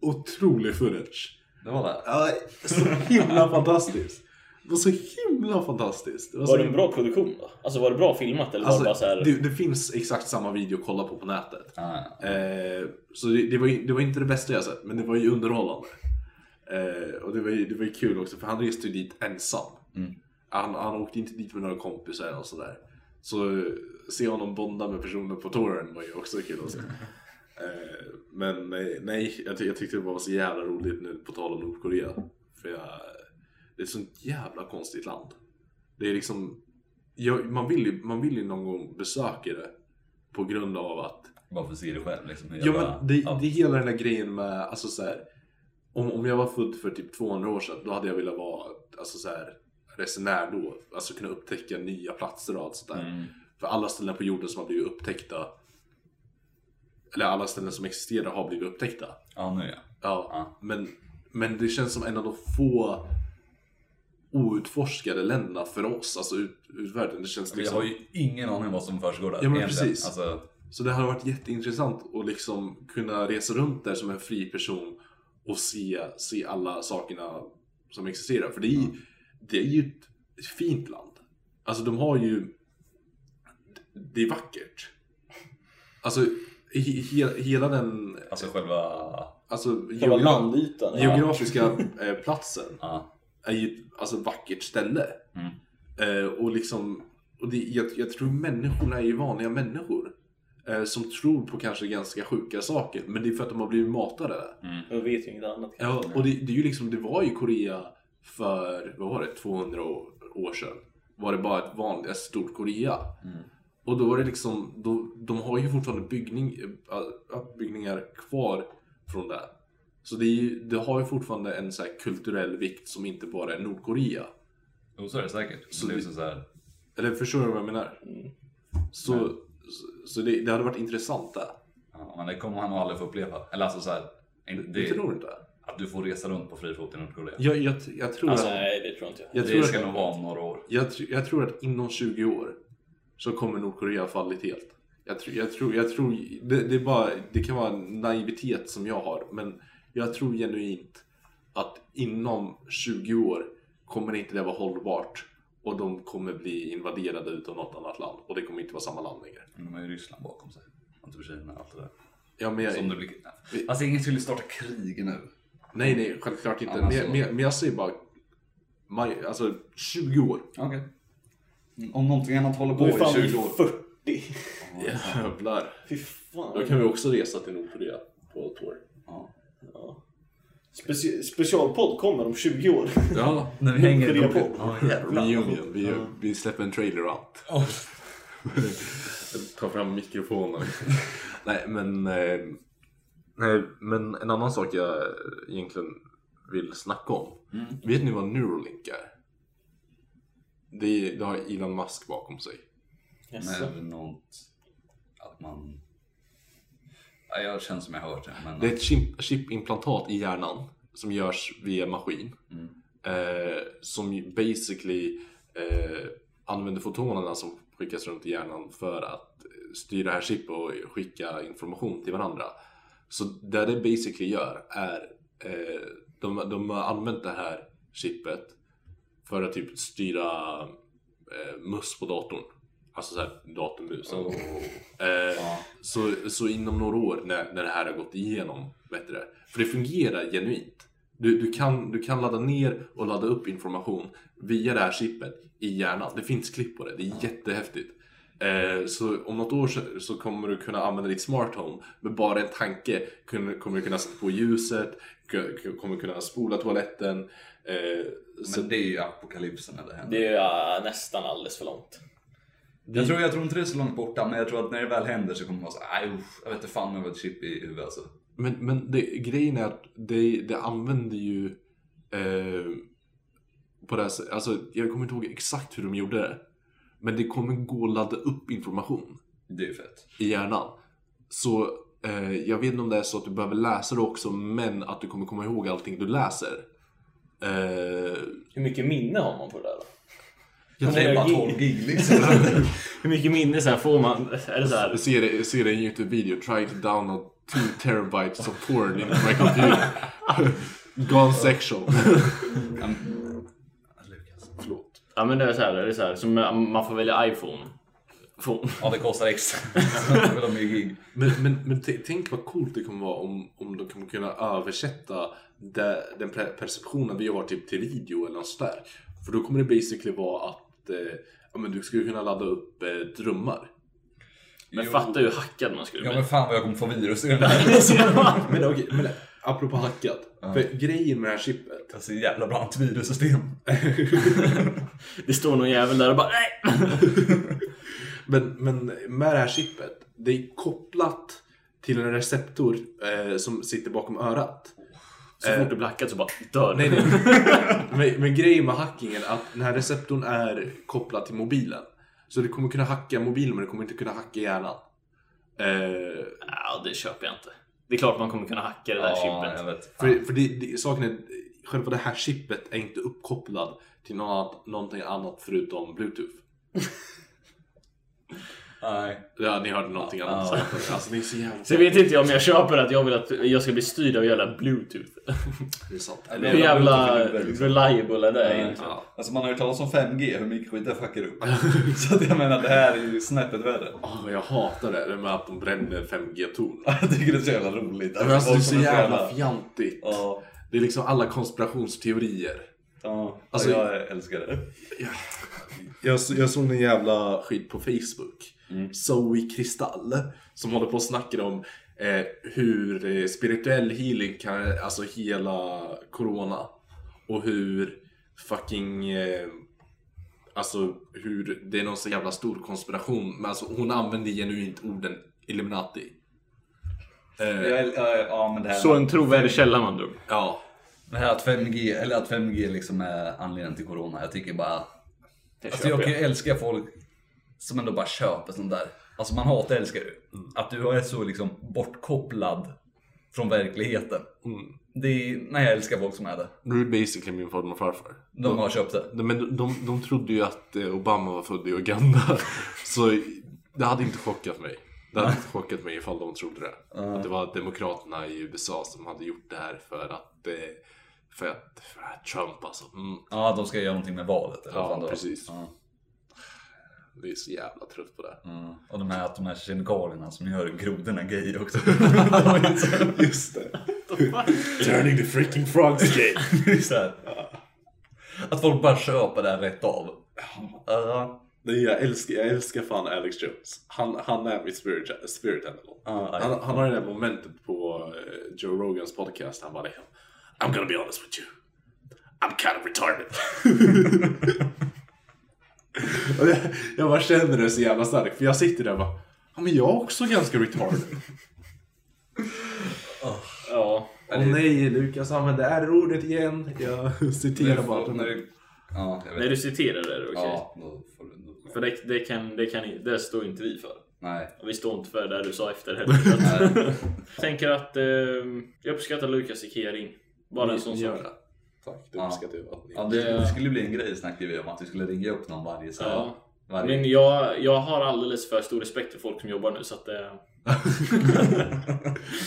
[SPEAKER 4] otrolig footage.
[SPEAKER 7] Det var det.
[SPEAKER 4] Ja, så himla fantastiskt. Det var så himla fantastiskt. Det var så
[SPEAKER 5] Var det en bra produktion då? Alltså var det bra filmat eller var det bara så
[SPEAKER 4] Alltså,
[SPEAKER 5] här...
[SPEAKER 4] det, det finns exakt samma video att kolla på på nätet. Eh, så det, det, var, ju- det var inte det bästa jag sett, men det var ju underhållande. Eh, och det var, ju, det var ju kul också, för han reste ju dit ensam. Han, han åkte inte dit med några kompisar och sådär. Så se honom bonda med personer på touren var ju också kul att se. Eh, men nej, nej jag, ty- jag tyckte det var så jävla roligt nu på tal om Nordkorea. För jag, det är ett sånt jävla konstigt land. Det är liksom, jag, man, vill ju, man vill ju någon gång besöka det på grund av att
[SPEAKER 1] Bara för att se det själv liksom. hur
[SPEAKER 4] Ja
[SPEAKER 1] jävla-
[SPEAKER 4] men det,
[SPEAKER 1] ja.
[SPEAKER 4] det är hela den där grejen med, alltså så här, om, om jag var född för typ 200 år sedan då hade jag velat vara alltså så här, resenär då. Alltså kunna upptäcka nya platser och allt sånt
[SPEAKER 1] Mm.
[SPEAKER 4] där. För alla ställen på jorden som har blivit upptäckta, eller alla ställen som existerar har blivit upptäckta.
[SPEAKER 1] Ja, nu ja.
[SPEAKER 4] Ja,
[SPEAKER 1] Ja.
[SPEAKER 4] Men, men det känns som en av de få outforskade länderna för oss, alltså ut, utvärlden. Det känns
[SPEAKER 1] Vi
[SPEAKER 4] liksom...
[SPEAKER 1] har ju ingen aning om vad som försiggår där
[SPEAKER 4] Ja, men
[SPEAKER 1] egentligen.
[SPEAKER 4] precis.
[SPEAKER 1] Alltså,
[SPEAKER 4] Så det hade varit jätteintressant att liksom kunna resa runt där som en fri person och se, se alla sakerna som existerar. För det är, ju- det är ju ett fint land. Alltså de har ju... Det är vackert. Alltså he, he, hela den
[SPEAKER 1] alltså själva...
[SPEAKER 4] alltså,
[SPEAKER 5] Själva
[SPEAKER 4] geogra-
[SPEAKER 5] landytan? ja.
[SPEAKER 4] geografiska eh, platsen
[SPEAKER 1] Ja.
[SPEAKER 4] är ju ett alltså, vackert ställe. Eh, och liksom, och det, jag, jag tror människorna är ju vanliga människor. Eh, som tror på kanske ganska sjuka saker. Men det är för att de har blivit matade där.
[SPEAKER 5] Jag vet ju inget annat.
[SPEAKER 4] Ja, och det, det är ju liksom, det var ju Korea för, vad var det, 200 år- år sedan. Var det bara ett vanligt, ett stort Korea. Och då var det liksom, då, de har ju fortfarande byggning, äh, byggningar kvar från det. Så det, är ju, det har ju fortfarande en så här kulturell vikt som inte bara är Nordkorea.
[SPEAKER 1] Jo, så är det säkert.
[SPEAKER 4] Så
[SPEAKER 1] Så det är
[SPEAKER 4] det-
[SPEAKER 1] så här...
[SPEAKER 4] Eller förstår du vad jag menar?
[SPEAKER 1] Mm.
[SPEAKER 4] Så, så, så det, det hade varit intressant där.
[SPEAKER 1] Ja, men det kommer han nog aldrig få uppleva. Eller alltså så här... inte-
[SPEAKER 4] Det,
[SPEAKER 1] Det,
[SPEAKER 4] tror du inte?
[SPEAKER 1] att du får resa runt på fri fot i Nordkorea.
[SPEAKER 4] Jag, jag, jag tror
[SPEAKER 5] Alltså
[SPEAKER 4] att...
[SPEAKER 5] nej, det tror inte jag.
[SPEAKER 4] Jag tror
[SPEAKER 1] det ska
[SPEAKER 4] att,
[SPEAKER 1] nog vara om några år.
[SPEAKER 4] Jag, tr- jag tror att inom 20 år så kommer Nordkorea ha fallit helt. Jag, tr- jag tror, jag tror det, det, är bara, det kan vara en naivitet som jag har, men jag tror genuint att inom 20 år kommer inte det vara hållbart och de kommer bli invaderade utav något annat land och det kommer inte vara samma land längre.
[SPEAKER 1] Men de har ju Ryssland bakom sig. Och typ Kina och allt det där.
[SPEAKER 4] Ja, men jag,
[SPEAKER 1] Som det blir... Alltså ingen skulle starta krig nu.
[SPEAKER 4] Nej, nej, självklart inte.
[SPEAKER 1] Ja,
[SPEAKER 4] Men,
[SPEAKER 1] men
[SPEAKER 4] jag-
[SPEAKER 1] så-
[SPEAKER 4] men, jag- men jag säger bara, maj, alltså 20 år.
[SPEAKER 7] Okej. Om någonting annat håller
[SPEAKER 5] Då
[SPEAKER 7] på
[SPEAKER 5] är fan
[SPEAKER 7] i
[SPEAKER 5] vi
[SPEAKER 7] 20 år.
[SPEAKER 5] 40.
[SPEAKER 4] Jävlar.
[SPEAKER 5] Fy
[SPEAKER 4] Då
[SPEAKER 5] fan.
[SPEAKER 4] kan vi också resa till Nordkorea på ett år.
[SPEAKER 5] Speci- specialpodd kommer om 20 år.
[SPEAKER 4] Ja,
[SPEAKER 1] När vi hänger i
[SPEAKER 5] Nordkorea
[SPEAKER 1] Nordkorea. Ja, jävlar.
[SPEAKER 4] Reunion. Vi, vi släpper en trailer och allt. (laughs) Ta fram mikrofonen. (laughs) nej, men, eh, nej, men en annan sak jag egentligen vill snacka om. Vet ni vad Neuralink är? Det, det har Elon Musk bakom sig.
[SPEAKER 5] Jaså.
[SPEAKER 1] Men något... Att man... Ja, jag känner som jag har hört det. Men...
[SPEAKER 4] Det är ett chip, chipimplantat i hjärnan som görs via maskin. Eh, som ju basically eh, använder fotonerna som skickas runt i hjärnan för att eh, styra det här chip och skicka information till varandra. Så det det basically gör är eh, de, de har använt det här chippet för att typ styra eh, mus på datorn. Alltså såhär datormusen. Eh, så, så inom några år när, när det här har gått igenom bättre. För det fungerar genuint. Du, du, kan, du kan ladda ner och ladda upp information via det här chippet i hjärnan. Det finns klipp på det. Det är jättehäftigt. Eh, så om något år så, så kommer du kunna använda ditt smart home med bara en tanke. Kun, kommer du kunna sätta på ljuset, k- k- kommer kunna spola toaletten. Eh, så
[SPEAKER 1] Men det är ju apokalypsen när det händer.
[SPEAKER 5] Det är ja, nästan alldeles för långt.
[SPEAKER 1] Jag, tror, jag tror inte det är så långt borta, men jag tror att när det väl händer så kommer man säga nej usch, jag vet inte fan om jag har ett chip i huvudet alltså.
[SPEAKER 4] Men, men det, grejen är att det, det använder ju eh, på det här sättet, alltså jag kommer inte ihåg exakt hur de gjorde det. Men det kommer gå att ladda upp information
[SPEAKER 1] Det är ju fett.
[SPEAKER 4] i hjärnan. Så eh, jag vet inte om det är så att du behöver läsa det också men att du kommer komma ihåg allting du läser. Eh,
[SPEAKER 5] Hur mycket minne har man på det där då?
[SPEAKER 4] jag
[SPEAKER 5] det är
[SPEAKER 4] tror-
[SPEAKER 5] bara
[SPEAKER 1] Tolv gig
[SPEAKER 4] (laughs)
[SPEAKER 1] liksom.
[SPEAKER 5] Hur mycket minne så här får man? Är det så här?
[SPEAKER 4] jag ser, det- jag ser det i en Youtube-video, try to download 2 terabytes of porn into my computer. (laughs) Gone sexual.
[SPEAKER 1] Lukas.
[SPEAKER 4] Förlåt.
[SPEAKER 5] Ja men det är så här, det är så här som man får välja iPhone. Phone.
[SPEAKER 1] Ja det kostar
[SPEAKER 4] (laughs)
[SPEAKER 1] extra. Det var mycket gig.
[SPEAKER 4] Men, men, men t- tänk vad coolt det kommer vara om, om de kommer kunna översätta det, den pre- perceptionen vi har typ till video eller något sånt där. För då kommer det basically vara att eh, ja, men du skulle kunna ladda upp eh, drömmar.
[SPEAKER 5] Men
[SPEAKER 1] Jo.
[SPEAKER 5] fatta hur hackad man skulle
[SPEAKER 1] Ja
[SPEAKER 5] bli.
[SPEAKER 1] men fan vad jag kommer få virus i den där.
[SPEAKER 4] Men okej, men apropå hackat. För grejen med det här chippet.
[SPEAKER 1] Alltså jävla bra antivirussystem.
[SPEAKER 5] (laughs) Det står någon jävel där och bara nej.
[SPEAKER 4] Men, men med det här chippet, det är kopplat till en receptor eh, som sitter bakom örat. Eh,
[SPEAKER 5] Så fort det blackat så bara dör
[SPEAKER 4] (laughs) Nej,
[SPEAKER 5] det.
[SPEAKER 4] nej. men, men grejen med hackingen är att den här receptorn är kopplad till mobilen. Så du kommer kunna hacka mobilen men du kommer inte kunna hacka hjärnan. Eh,
[SPEAKER 5] Ja, det köper jag inte. Det är klart man kommer kunna hacka det där
[SPEAKER 1] Ja, jag
[SPEAKER 5] chippet.
[SPEAKER 1] vet.
[SPEAKER 4] för för det, det, saken är, själva det här chippet är inte uppkopplad till något annat, någonting annat förutom bluetooth.
[SPEAKER 1] Nej.
[SPEAKER 4] Ja, ni hörde någonting annat.
[SPEAKER 1] Ja.
[SPEAKER 4] sagt. Alltså det är så jävla...
[SPEAKER 5] Sen vet inte jag om jag köper att jag vill att jag ska bli styrd av jävla bluetooth.
[SPEAKER 4] Det är sant.
[SPEAKER 1] Det
[SPEAKER 5] Hur (laughs) jävla
[SPEAKER 1] Bluetooth är lurigt, liksom.
[SPEAKER 5] reliable är det egentligen?
[SPEAKER 1] Ja. Alltså man har ju talat om 5G, hur mycket skit det fuckar upp. (laughs) Så att jag menar det här är ju snäppet värre. (laughs)
[SPEAKER 4] Åh, jag hatar det, det med att de bränner 5G-torn.
[SPEAKER 1] Jag tycker det är så jävla roligt.
[SPEAKER 4] Men Alltså det är
[SPEAKER 1] folk
[SPEAKER 4] så
[SPEAKER 1] som är
[SPEAKER 4] jävla fjantigt.
[SPEAKER 1] Ja,
[SPEAKER 4] Det är liksom alla konspirationsteorier.
[SPEAKER 1] ja.
[SPEAKER 4] Alltså-
[SPEAKER 1] Alltså, jag älskar det.
[SPEAKER 4] Jag, så- jag såg en jävla skit på Facebook. Zoe Kristall. Som håller på och snackar om eh, hur eh, spirituell healing kan alltså hela corona. Och hur fucking... Eh, alltså hur det är någon så jävla stor konspiration. Men alltså hon använder genuint orden Illuminati. Eh,
[SPEAKER 1] Jag, ja, ja, men det här,
[SPEAKER 5] Så en trovärdig källa man drog.
[SPEAKER 4] ja.
[SPEAKER 1] det här att 5G, eller att 5G liksom är anledningen till Corona. Jag tycker bara...
[SPEAKER 5] Det
[SPEAKER 1] Alltså
[SPEAKER 5] köper
[SPEAKER 1] jag kan ju
[SPEAKER 5] jag.
[SPEAKER 1] älska folk som ändå bara köper sånt där. Alltså man hatar älskar ju. Att du är så liksom bortkopplad från verkligheten. Det är, nej jag älskar folk som är det.
[SPEAKER 4] Nu är det basically min farmor och farfar.
[SPEAKER 1] De har köpt det.
[SPEAKER 4] Nej, Men de, de, de trodde ju att eh, Obama var född i (laughs) Uganda. Så det hade inte chockat mig. Det hade inte chockat mig ifall de trodde det. Att det var demokraterna i USA som hade gjort det här för att... eh, För att, för att Trump alltså. Mm.
[SPEAKER 1] Ja, de ska göra någonting med valet. Eller vad fan det var.
[SPEAKER 4] Ja, precis.
[SPEAKER 1] Ja.
[SPEAKER 4] Vi är så jävla trött på det.
[SPEAKER 1] Mm. Och de här, att de här kemikalierna som gör grodorna gay
[SPEAKER 5] (laughs)
[SPEAKER 1] också.
[SPEAKER 4] Just det. (laughs) Turning the freaking frogs gay.
[SPEAKER 1] Det är så här. Att folk bara köper det här rätt av. Ja.
[SPEAKER 4] Nej, jag, älskar, jag älskar fan Alex Jones. Han, han är mitt spirit, spirit animal.
[SPEAKER 1] Ja,
[SPEAKER 4] han, han har det där momentet på eh, Joe Rogans podcast. Han bara liksom I'm gonna be honest with you. I'm kind of retarded. (laughs) Och jag, jag bara känner det så jävla starkt. För jag sitter där och bara Ja men jag är också ganska retarded.
[SPEAKER 5] Ja.
[SPEAKER 4] Åh nej, Lukas använde R-ordet igen. Jag (laughs) citerar bara.
[SPEAKER 1] när du... Ja, jag
[SPEAKER 5] När
[SPEAKER 1] vet.
[SPEAKER 5] du citerar det är det okej.
[SPEAKER 1] Ja, då får du... Då.
[SPEAKER 5] För det, det, kan, det, kan, det står inte vi för.
[SPEAKER 1] Nej.
[SPEAKER 5] Och vi står inte för det du sa efter heller. Jag tänker att eh, jag uppskattar Lukas Ikering. Bara en sån sak.
[SPEAKER 4] Gör det. Tack, det uppskattar jag att ni
[SPEAKER 1] Ja, det, det skulle bli en grej snackade vi om, att vi skulle ringa upp någon varje så här,
[SPEAKER 5] Ja.
[SPEAKER 1] varje...
[SPEAKER 5] Men jag, jag har alldeles för stor respekt för folk som jobbar nu så att eh, (laughs)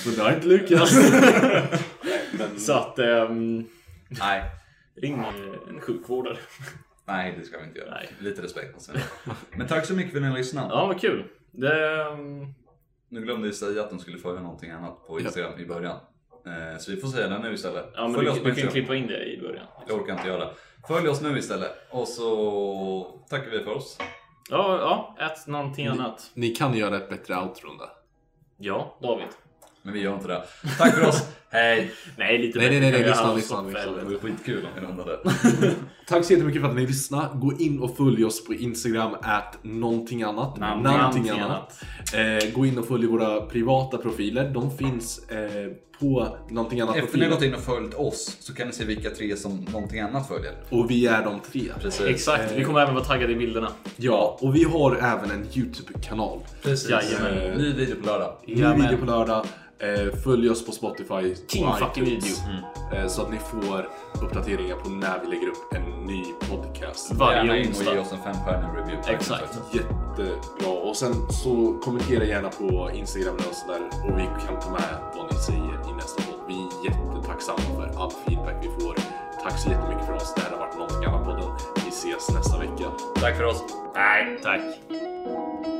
[SPEAKER 4] Men det har inte Lukas. (laughs)
[SPEAKER 5] Så att ehm,
[SPEAKER 1] Nej,
[SPEAKER 5] ring eh, en sjukvårdare.
[SPEAKER 1] nej det ska vi inte göra.
[SPEAKER 5] Nej.
[SPEAKER 1] Lite respekt måste vi ha. Men tack så mycket för att ni har lyssnat.
[SPEAKER 5] Ja, vad kul. Det, ehm,
[SPEAKER 1] Nu glömde jag säga att de skulle följa någonting annat på Instagram i början. Eh, Så vi får säga den nu istället.
[SPEAKER 5] Ja, men
[SPEAKER 1] Följ
[SPEAKER 5] du,
[SPEAKER 1] oss på
[SPEAKER 5] du kan
[SPEAKER 1] Instagram.
[SPEAKER 5] klippa in det i början.
[SPEAKER 1] Jag orkar inte göra det. Följ oss nu istället. Och så tackar vi för oss.
[SPEAKER 5] Ja, ja. Ät någonting annat.
[SPEAKER 4] Ni kan göra ett bättre outro än det.
[SPEAKER 5] Ja, David.
[SPEAKER 1] Men vi gör inte det. Tack för (laughs) oss. Hej!
[SPEAKER 5] Nej, lite
[SPEAKER 4] Nej, nej, nej, nej,
[SPEAKER 5] bättre.
[SPEAKER 4] lyssna,
[SPEAKER 5] Jag har
[SPEAKER 4] lyssna,
[SPEAKER 5] stått
[SPEAKER 4] lyssna.
[SPEAKER 1] Det
[SPEAKER 5] väl.
[SPEAKER 1] var skitkul om vi rundade.
[SPEAKER 4] Tack så jättemycket för att ni lyssnade. Gå in och följ oss på Instagram, at någonting annat.
[SPEAKER 5] Nam-
[SPEAKER 4] Någonting
[SPEAKER 5] någonting
[SPEAKER 4] annat. Eh, gå in och följ våra privata profiler. De finns eh, på någonting annat
[SPEAKER 1] Efter ni har
[SPEAKER 4] profiler.
[SPEAKER 1] gått in och följt oss så kan ni se vilka tre som någonting annat följer.
[SPEAKER 4] Och vi är de tre.
[SPEAKER 1] Precis.
[SPEAKER 5] Exakt, vi kommer även vara taggade i bilderna.
[SPEAKER 4] Ja, och vi har även en YouTube-kanal.
[SPEAKER 1] Precis. Eh,
[SPEAKER 5] Jajamän.
[SPEAKER 1] Ny video på lördag.
[SPEAKER 4] Ny
[SPEAKER 5] Jajamän.
[SPEAKER 4] video på lördag. Eh, följ oss på Spotify.
[SPEAKER 5] King
[SPEAKER 4] och
[SPEAKER 5] fucking
[SPEAKER 4] iTunes. Eh, så att ni får uppdateringar på när vi lägger upp en ny podcast.
[SPEAKER 1] Gärna
[SPEAKER 5] Varje
[SPEAKER 1] in och ge
[SPEAKER 5] onsdag.
[SPEAKER 1] oss en femstjärnig review. på
[SPEAKER 5] Exakt.
[SPEAKER 1] iTunes också.
[SPEAKER 4] alltså, Jättebra. Och sen så kommentera gärna på Instagram och sådär. Och vi kan ta med vad ni säger i nästa podd. Vi är jättetacksamma för all feedback vi får. Tack så jättemycket för oss. Det här har varit någonting annat podden. Vi ses nästa vecka.
[SPEAKER 1] Tack för oss.
[SPEAKER 5] Nej, tack.